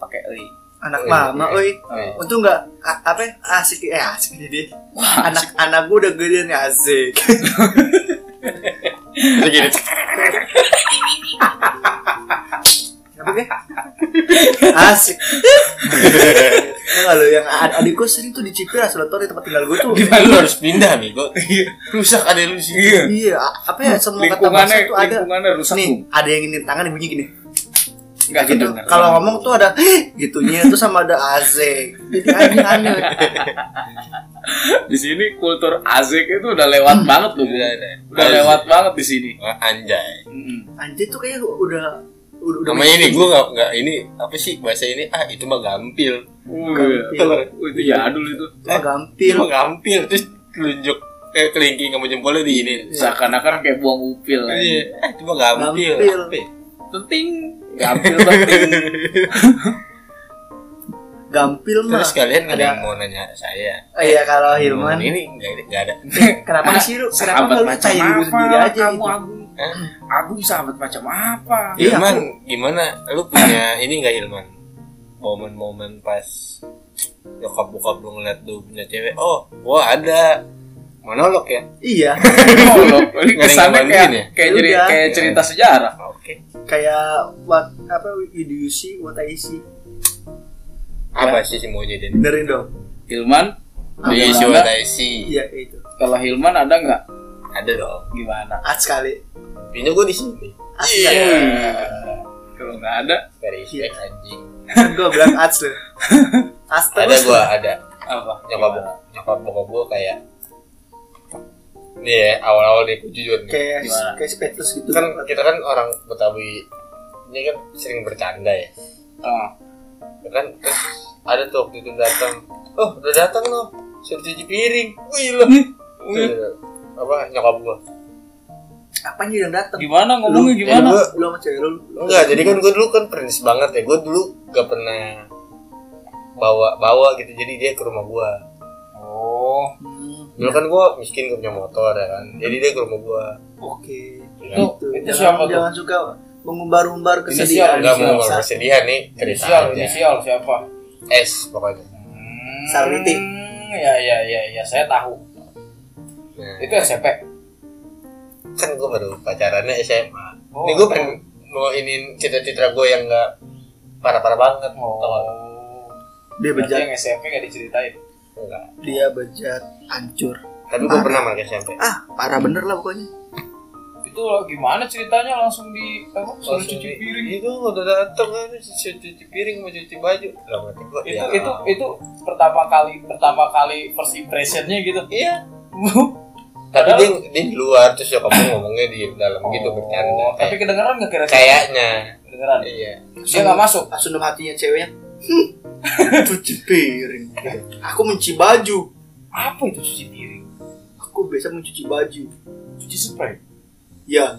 [SPEAKER 4] Pakai eh.
[SPEAKER 1] anak mama oi
[SPEAKER 4] Eh.
[SPEAKER 1] untung nggak a- apa ya, asik eh asik jadi
[SPEAKER 4] Wah
[SPEAKER 1] anak anak gue udah gede nih asik
[SPEAKER 3] Terus gini,
[SPEAKER 1] apa ya? asik Enggak lo yang ad- adik gue sering tuh dicipir asalator di tempat tinggal gue tuh
[SPEAKER 3] gimana lu harus pindah bego? Rusak ada lu sih.
[SPEAKER 4] Iya
[SPEAKER 1] iya a- apa ya semua kata bahasa
[SPEAKER 4] Lingkungannya
[SPEAKER 1] tuh ada
[SPEAKER 4] Lingkungannya rusak Iya,
[SPEAKER 1] nih
[SPEAKER 4] Bung.
[SPEAKER 1] ada yang ini tangan yang bunyi gini
[SPEAKER 2] Nggak
[SPEAKER 1] Gitu.
[SPEAKER 2] kedenger.
[SPEAKER 1] Kalau ngomong tuh ada gitunya tuh sama ada AZ. Jadi aneh-aneh.
[SPEAKER 2] di sini kultur azek itu udah lewat
[SPEAKER 4] Hmm.
[SPEAKER 2] banget loh
[SPEAKER 4] Iya,
[SPEAKER 2] Bu. udah
[SPEAKER 3] Azek.
[SPEAKER 2] lewat banget di sini
[SPEAKER 3] Ah, anjay
[SPEAKER 4] Hmm.
[SPEAKER 1] Anjir tuh kayak udah udah udah
[SPEAKER 3] namanya ini gue nggak nggak ini apa sih bahasa ini ah itu mah gampil
[SPEAKER 2] Wih, itu ya
[SPEAKER 4] Iya.
[SPEAKER 2] dulu itu
[SPEAKER 1] Cuma
[SPEAKER 3] itu
[SPEAKER 1] gampil.
[SPEAKER 4] Eh,
[SPEAKER 3] mah gampil terus telunjuk eh kelingking sama jempolnya di ini
[SPEAKER 4] Iya.
[SPEAKER 2] seakan-akan kayak buang upil
[SPEAKER 3] Iya, eh itu mah gampil
[SPEAKER 1] Gampil.
[SPEAKER 3] Apa ya?
[SPEAKER 2] penting gampil penting
[SPEAKER 1] Gampil mah.
[SPEAKER 3] terus kalian ada
[SPEAKER 1] Ada-
[SPEAKER 3] yang mau nanya saya
[SPEAKER 1] Eh, Iya kalau Hilman.
[SPEAKER 3] ini nggak ada- nggak ada
[SPEAKER 4] Ah,
[SPEAKER 1] Kenapa sih lu? Kenapa
[SPEAKER 2] sahabat
[SPEAKER 1] nggak lu
[SPEAKER 2] macam
[SPEAKER 1] percaya diri lu
[SPEAKER 2] apa
[SPEAKER 1] sendiri aja?
[SPEAKER 2] kamu
[SPEAKER 1] gitu?
[SPEAKER 2] agung agung sahabat macam apa
[SPEAKER 1] Iya,
[SPEAKER 3] Ilman gimana lu punya ini nggak Ilman momen-momen pas nyokap bokap lu ngeliat lu punya cewek oh gua ada monolog ya
[SPEAKER 1] Iya.
[SPEAKER 2] Oh, loh. Ini
[SPEAKER 3] Nggak ada yang
[SPEAKER 2] kesannya kayak
[SPEAKER 3] ngebandingin
[SPEAKER 2] kayak,
[SPEAKER 1] Ya
[SPEAKER 2] jadi,
[SPEAKER 1] udah.
[SPEAKER 2] kayak cerita sejarah
[SPEAKER 3] Ah, oke
[SPEAKER 1] Kayak what apa you do you see what I see.
[SPEAKER 3] apa
[SPEAKER 1] Ya.
[SPEAKER 3] sih si maunya jadi
[SPEAKER 1] Benerin dong.
[SPEAKER 2] Hilman
[SPEAKER 3] di
[SPEAKER 2] Ada.
[SPEAKER 3] show sih
[SPEAKER 1] Iya itu.
[SPEAKER 2] kalau Hilman ada nggak
[SPEAKER 3] ada dong
[SPEAKER 2] gimana
[SPEAKER 1] As sekali.
[SPEAKER 3] ini gua di sini
[SPEAKER 1] As
[SPEAKER 4] Iya.
[SPEAKER 1] sekali.
[SPEAKER 2] Iya. kalau nggak ada
[SPEAKER 3] dari
[SPEAKER 1] Iya.
[SPEAKER 3] respect anjing
[SPEAKER 1] Kan gua bilang as lu. As
[SPEAKER 3] ada
[SPEAKER 1] terus.
[SPEAKER 3] gua ada
[SPEAKER 2] apa
[SPEAKER 3] nyokap bokap nyokap bokap gua kayak nih ya awal-awal deh gua jujur nih
[SPEAKER 1] Kayak
[SPEAKER 2] Gimana?
[SPEAKER 1] kayak spetus gitu.
[SPEAKER 3] kan kita kan orang Betawi ini kan sering bercanda ya
[SPEAKER 2] Ah,
[SPEAKER 3] ya kan terus ada tuh waktu itu datang oh udah datang loh suruh cuci piring wih loh Tuh, apa nyokap gua
[SPEAKER 1] Apanya yang datang?
[SPEAKER 2] gimana ngomongnya
[SPEAKER 1] Lu-
[SPEAKER 2] gimana
[SPEAKER 1] Lu lu sama cewek lu. lu-
[SPEAKER 3] enggak jadi kan gua dulu kan prinsip banget ya gua dulu gak pernah bawa bawa gitu jadi dia ke rumah gua
[SPEAKER 2] oh
[SPEAKER 1] Hmm,
[SPEAKER 3] dulu kan gua miskin gak punya motor ya kan jadi dia ke rumah gua
[SPEAKER 1] Oke.
[SPEAKER 3] Itu-
[SPEAKER 1] Gitu.
[SPEAKER 4] itu
[SPEAKER 1] Jangan-
[SPEAKER 4] siapa tuh?
[SPEAKER 1] Jangan suka mengumbar-umbar
[SPEAKER 4] siapa?
[SPEAKER 1] kesedihan.
[SPEAKER 3] enggak mau
[SPEAKER 4] Inisial.
[SPEAKER 3] kesedihan nih cerita
[SPEAKER 4] Inisial,
[SPEAKER 3] aja
[SPEAKER 4] inisial siapa?
[SPEAKER 3] S pokoknya
[SPEAKER 4] Hmm,
[SPEAKER 1] Sarwiti.
[SPEAKER 4] Ya, ya, ya, ya, saya tahu.
[SPEAKER 3] nah,
[SPEAKER 4] Itu SMP.
[SPEAKER 3] kan gua baru pacarannya SMA
[SPEAKER 4] Oh.
[SPEAKER 3] ini gua pengen mau iniin cita-cita gua yang gak parah-parah banget
[SPEAKER 4] Oh.
[SPEAKER 3] tau gak?
[SPEAKER 1] Dia
[SPEAKER 4] Berarti
[SPEAKER 1] bejat,
[SPEAKER 4] yang SMP gak diceritain.
[SPEAKER 3] enggak
[SPEAKER 1] dia bejat hancur.
[SPEAKER 3] tapi gua pernah makan SMP
[SPEAKER 1] Ah, parah bener lah pokoknya.
[SPEAKER 4] Itu gimana ceritanya langsung di apa? Suruh
[SPEAKER 3] Langsung
[SPEAKER 4] cuci
[SPEAKER 3] di-
[SPEAKER 4] piring.
[SPEAKER 3] itu iya, udah dateng kan cuci cuci piring mau cuci baju lah mati gua iya.
[SPEAKER 4] Itu itu itu pertama kali pertama kali first impressionnya gitu.
[SPEAKER 3] iya tapi dia dia di luar terus ya kamu ngomongnya di dalam gitu bercanda
[SPEAKER 4] Oh, tapi
[SPEAKER 3] kayak,
[SPEAKER 4] kedengeran gak kira
[SPEAKER 3] kayaknya
[SPEAKER 4] kedengeran.
[SPEAKER 3] iya
[SPEAKER 4] Dia gak masuk.
[SPEAKER 1] Langsung dalam hatinya ceweknya. Hmm, cuci piring. Aku mencuci baju.
[SPEAKER 4] Apa itu cuci piring?
[SPEAKER 1] Aku biasa mencuci baju.
[SPEAKER 4] Cuci spray.
[SPEAKER 1] Ya.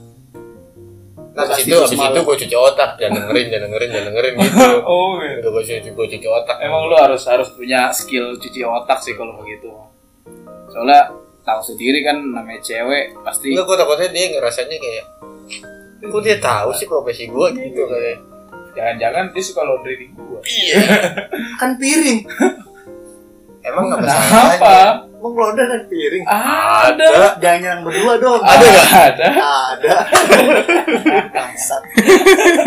[SPEAKER 3] nah abis
[SPEAKER 1] Pasti
[SPEAKER 3] itu abis
[SPEAKER 1] semalam.
[SPEAKER 3] itu gua cuci otak dan dengerin dan dengerin dan dengerin gitu
[SPEAKER 4] Oh, iya.
[SPEAKER 3] udah gua cuci gua cuci otak
[SPEAKER 2] Emang lu harus harus punya skill cuci otak sih kalau begitu. Soalnya tahu sendiri kan namanya cewek
[SPEAKER 1] Iya.
[SPEAKER 2] pasti
[SPEAKER 3] enggak gua takutnya dia ngerasanya kayak kok dia tahu sih profesi gua gitu kayak
[SPEAKER 4] Jangan-jangan dia suka laundry di gua.
[SPEAKER 1] Kan piring.
[SPEAKER 3] emang nggak masalahnya
[SPEAKER 4] Kenapa?
[SPEAKER 1] Emang loda kan piring.
[SPEAKER 4] Ada.
[SPEAKER 1] Jangan nyerang berdua dong.
[SPEAKER 4] Ada nggak? Ada.
[SPEAKER 1] Ada. Bangsat.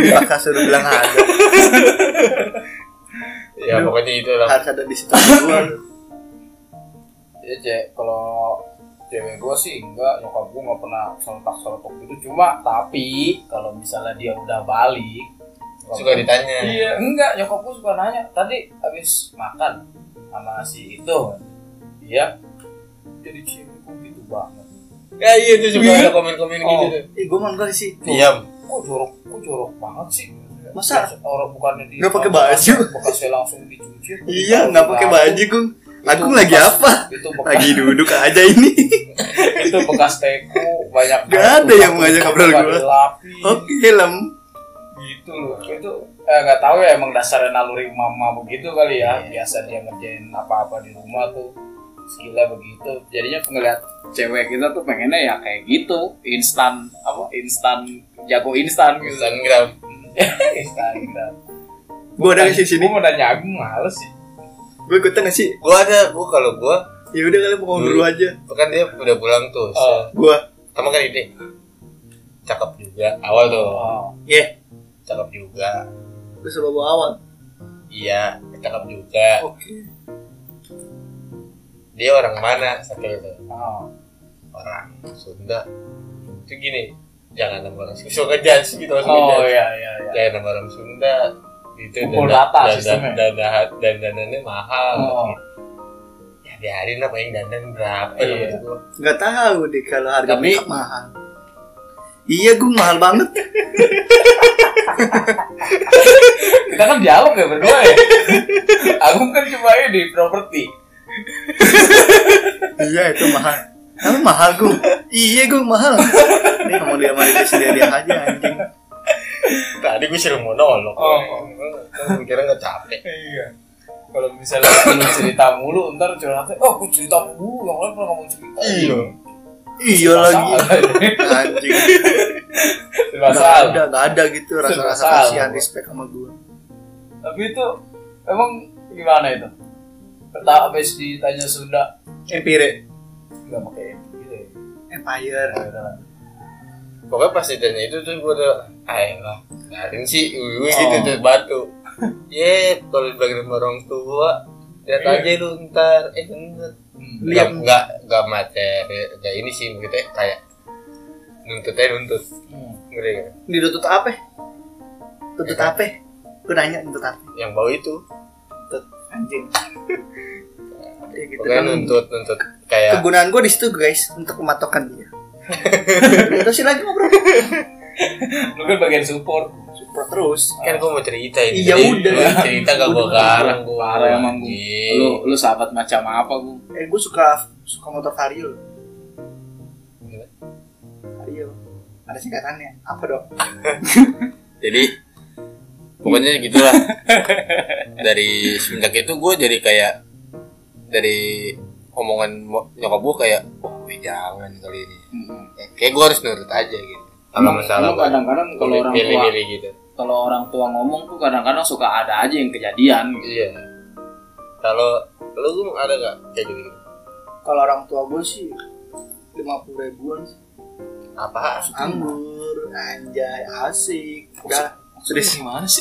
[SPEAKER 1] Dipaksa suruh bilang ada.
[SPEAKER 3] ya pokoknya itu lah
[SPEAKER 1] Harus ada di situ berdua.
[SPEAKER 4] ya cek kalau cewek gue sih enggak nyokap gue nggak pernah sontak sontak gitu cuma tapi kalau misalnya dia udah balik
[SPEAKER 3] suka ditanya
[SPEAKER 4] iya enggak nyokap gue suka nanya tadi habis makan sama si itu iya jadi cewek gue gitu banget
[SPEAKER 3] ya iya itu suka ada komen-komen gitu Iya.
[SPEAKER 4] Oh.
[SPEAKER 3] tuh
[SPEAKER 1] Ih, gue mah enggak sih.
[SPEAKER 3] diam
[SPEAKER 4] kok jorok kok jorok banget sih
[SPEAKER 1] Masa?
[SPEAKER 4] Terus orang bukannya di
[SPEAKER 1] Nggak pakai baju.
[SPEAKER 4] bekasnya langsung dicuci
[SPEAKER 1] Iya, nggak pakai baju, Gung. Aku lagi apa?
[SPEAKER 4] itu bekas
[SPEAKER 1] Lagi duduk aja ini.
[SPEAKER 4] itu bekas teko banyak
[SPEAKER 1] Nggak
[SPEAKER 4] batu,
[SPEAKER 1] ada yang
[SPEAKER 4] batu,
[SPEAKER 1] mengajak ngobrol
[SPEAKER 4] nggak
[SPEAKER 1] gua.
[SPEAKER 4] dilapis.
[SPEAKER 1] Oke, lem.
[SPEAKER 4] gitu loh itu eh, nggak tahu ya emang dasarnya naluri mama begitu kali
[SPEAKER 1] Iya.
[SPEAKER 4] ya biasa dia ngerjain apa-apa di rumah tuh skillnya begitu jadinya ngeliat
[SPEAKER 2] cewek kita tuh pengennya ya kayak gitu instan apa instan jago instan gitu.
[SPEAKER 3] Instagram
[SPEAKER 4] Instagram
[SPEAKER 1] Gue ada nggak sih sini?
[SPEAKER 4] Gua mau nanya aku males sih
[SPEAKER 1] Gue ikutan nggak sih?
[SPEAKER 3] gua ada gua kalau gua
[SPEAKER 1] Ya udah kalian mau ngobrol
[SPEAKER 3] Hmm.
[SPEAKER 1] aja.
[SPEAKER 3] kan dia udah pulang tuh
[SPEAKER 4] Oh.
[SPEAKER 1] Gue.
[SPEAKER 3] pertama kali ini cakep juga awal tuh
[SPEAKER 4] oh,
[SPEAKER 1] Iya.
[SPEAKER 3] cakep juga
[SPEAKER 1] Gue sama bawa awal.
[SPEAKER 3] iya cakep juga
[SPEAKER 1] Oke.
[SPEAKER 3] dia orang mana satu itu
[SPEAKER 4] oh.
[SPEAKER 3] orang Sunda itu gini jangan nama orang Sunda suka ngejudge gitu langsung
[SPEAKER 4] Oh
[SPEAKER 3] ngejudge.
[SPEAKER 4] iya iya iya.
[SPEAKER 3] jangan nama orang Sunda itu
[SPEAKER 4] Pukul rata sistemnya.
[SPEAKER 3] dan dan dandannya mahal
[SPEAKER 4] Oh.
[SPEAKER 3] ya biarin lah paling dandan berapa gitu.
[SPEAKER 4] Iya.
[SPEAKER 3] maksud gua.
[SPEAKER 1] Nggak tahu deh kalau harga
[SPEAKER 3] Tapi-
[SPEAKER 1] makeup mahal. Iya, gue mahal banget.
[SPEAKER 4] Kita kan dialog ya berdua ya. Aku kan cuma ini properti.
[SPEAKER 1] iya, itu mahal. Kamu mahal gue. Iya, gue mahal. Ini mau dia mari sendiri aja anjing.
[SPEAKER 3] tadi gue suruh monolog
[SPEAKER 4] Oh.
[SPEAKER 3] gue kira nggak capek
[SPEAKER 4] Iya. Kalau misalnya lu cerita mulu, ntar curhatnya, oh aku cerita mulu, yang lain pernah nggak mau cerita.
[SPEAKER 3] iya
[SPEAKER 1] Iya lagi. Anjing. Gak
[SPEAKER 4] Masalah.
[SPEAKER 1] ada, gak ada gitu rasa-rasa
[SPEAKER 4] Masalah.
[SPEAKER 1] kasihan respect sama gue.
[SPEAKER 4] Tapi itu emang gimana itu? Pertama habis ditanya Sunda,
[SPEAKER 1] Empire.
[SPEAKER 4] nggak pakai gitu ya.
[SPEAKER 1] Empire.
[SPEAKER 4] Ya udah lah.
[SPEAKER 3] pokoknya pas ditanya itu tuh gue udah ayolah biarin sih uyu
[SPEAKER 4] Oh.
[SPEAKER 3] gitu tuh batu ye kalau dibilang sama orang tua lihat
[SPEAKER 4] Iya.
[SPEAKER 3] aja lu ntar eh bener
[SPEAKER 4] Hmm.
[SPEAKER 1] Lihat.
[SPEAKER 3] nggak nggak nggak materi nggak ini sih begitu kayak nuntut aja nuntut
[SPEAKER 4] Hmm.
[SPEAKER 3] ngeri kan
[SPEAKER 1] Di tutut apa? Tutut apa? Gue nanya tutut apa?
[SPEAKER 3] yang bau itu
[SPEAKER 1] Tutut anjing. ya gitu
[SPEAKER 3] pokoknya
[SPEAKER 1] kan.
[SPEAKER 3] nuntut nuntut kayak
[SPEAKER 1] Kegunaan gue di situ guys untuk mematokkan dia. Terusin lagi ngobrol.
[SPEAKER 4] Lu kan bagian support. Ah.
[SPEAKER 1] Support terus.
[SPEAKER 3] kan gue mau cerita ini
[SPEAKER 1] Iya,
[SPEAKER 3] Jadi,
[SPEAKER 1] udah.
[SPEAKER 3] gua cerita gak gue garang gue
[SPEAKER 2] Parah emang, Bung. Lu lu sahabat macam apa, Bung?
[SPEAKER 1] Eh gue suka suka motor vario. loh. Vario. Ada singkatannya. Apa dok?
[SPEAKER 3] jadi pokoknya gitulah dari semenjak itu gue jadi kayak dari omongan mo- nyokap gue kayak wah gue jangan kali ini
[SPEAKER 4] Hmm.
[SPEAKER 2] Mm-mm.
[SPEAKER 3] kayak gue harus nurut aja gitu kalau
[SPEAKER 2] Emang
[SPEAKER 3] masalah
[SPEAKER 2] Iya, lu kadang-kadang kalau orang tua
[SPEAKER 3] pilih-pilih gitu
[SPEAKER 2] kalau orang tua ngomong tuh kadang-kadang suka ada aja yang kejadian gitu.
[SPEAKER 3] iya kalau lu Gung, ada gak kayak gitu
[SPEAKER 1] Kalau orang tua gue sih lima puluh ribuan sih.
[SPEAKER 3] apa
[SPEAKER 1] anggur anjay asik udah
[SPEAKER 2] Maksudnya gimana sih?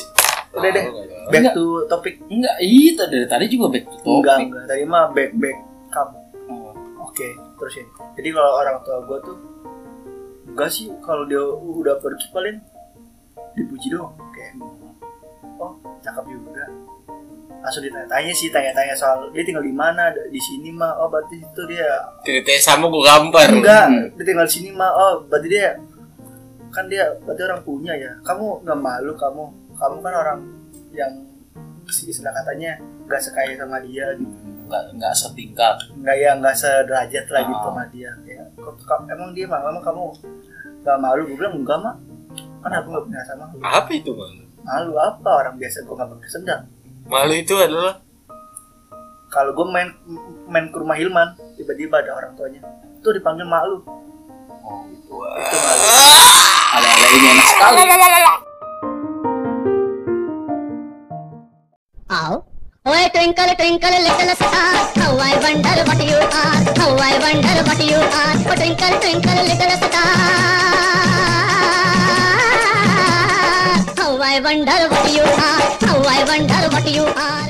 [SPEAKER 1] udah deh back to topik
[SPEAKER 2] Enggak, itu dari tadi juga back to
[SPEAKER 1] enggak
[SPEAKER 2] topic.
[SPEAKER 1] enggak tadi mah back back kamu
[SPEAKER 2] Oh.
[SPEAKER 1] oke terusin jadi kalau orang tua gue tuh enggak sih kalau dia udah pergi paling dipuji dong kayak oh cakep juga langsung ditanya-tanya sih tanya-tanya soal dia tinggal di mana di sini mah oh berarti itu dia
[SPEAKER 3] ceritanya sama gue gampar
[SPEAKER 1] enggak
[SPEAKER 2] Hmm.
[SPEAKER 1] dia tinggal di sini mah oh berarti dia kan dia berarti orang punya ya kamu nggak malu kamu kamu kan orang yang istilah katanya nggak sekaya sama dia gitu.
[SPEAKER 2] Enggak enggak setingkat.
[SPEAKER 1] nggak ya nggak sederajat lah gitu
[SPEAKER 2] Ah.
[SPEAKER 1] sama dia ya kok- kok- emang dia mah emang kamu nggak malu gue bilang enggak mah kan aku nggak pernah sama lu.
[SPEAKER 3] apa itu malu
[SPEAKER 1] malu apa orang biasa gue nggak pakai sendal
[SPEAKER 3] malu itu adalah
[SPEAKER 1] kalau gue main main ke rumah Hilman tiba-tiba ada orang tuanya tuh dipanggil malu
[SPEAKER 2] Oh, gitu.
[SPEAKER 1] itu malu
[SPEAKER 2] Ada-ada ini enak sekali.
[SPEAKER 5] Ow. Oy, twinkle, twinkle, little star, how I wonder what you are, how I wonder what you are, oh, twinkle, twinkle, little star, how I wonder what you are, how I wonder what you are.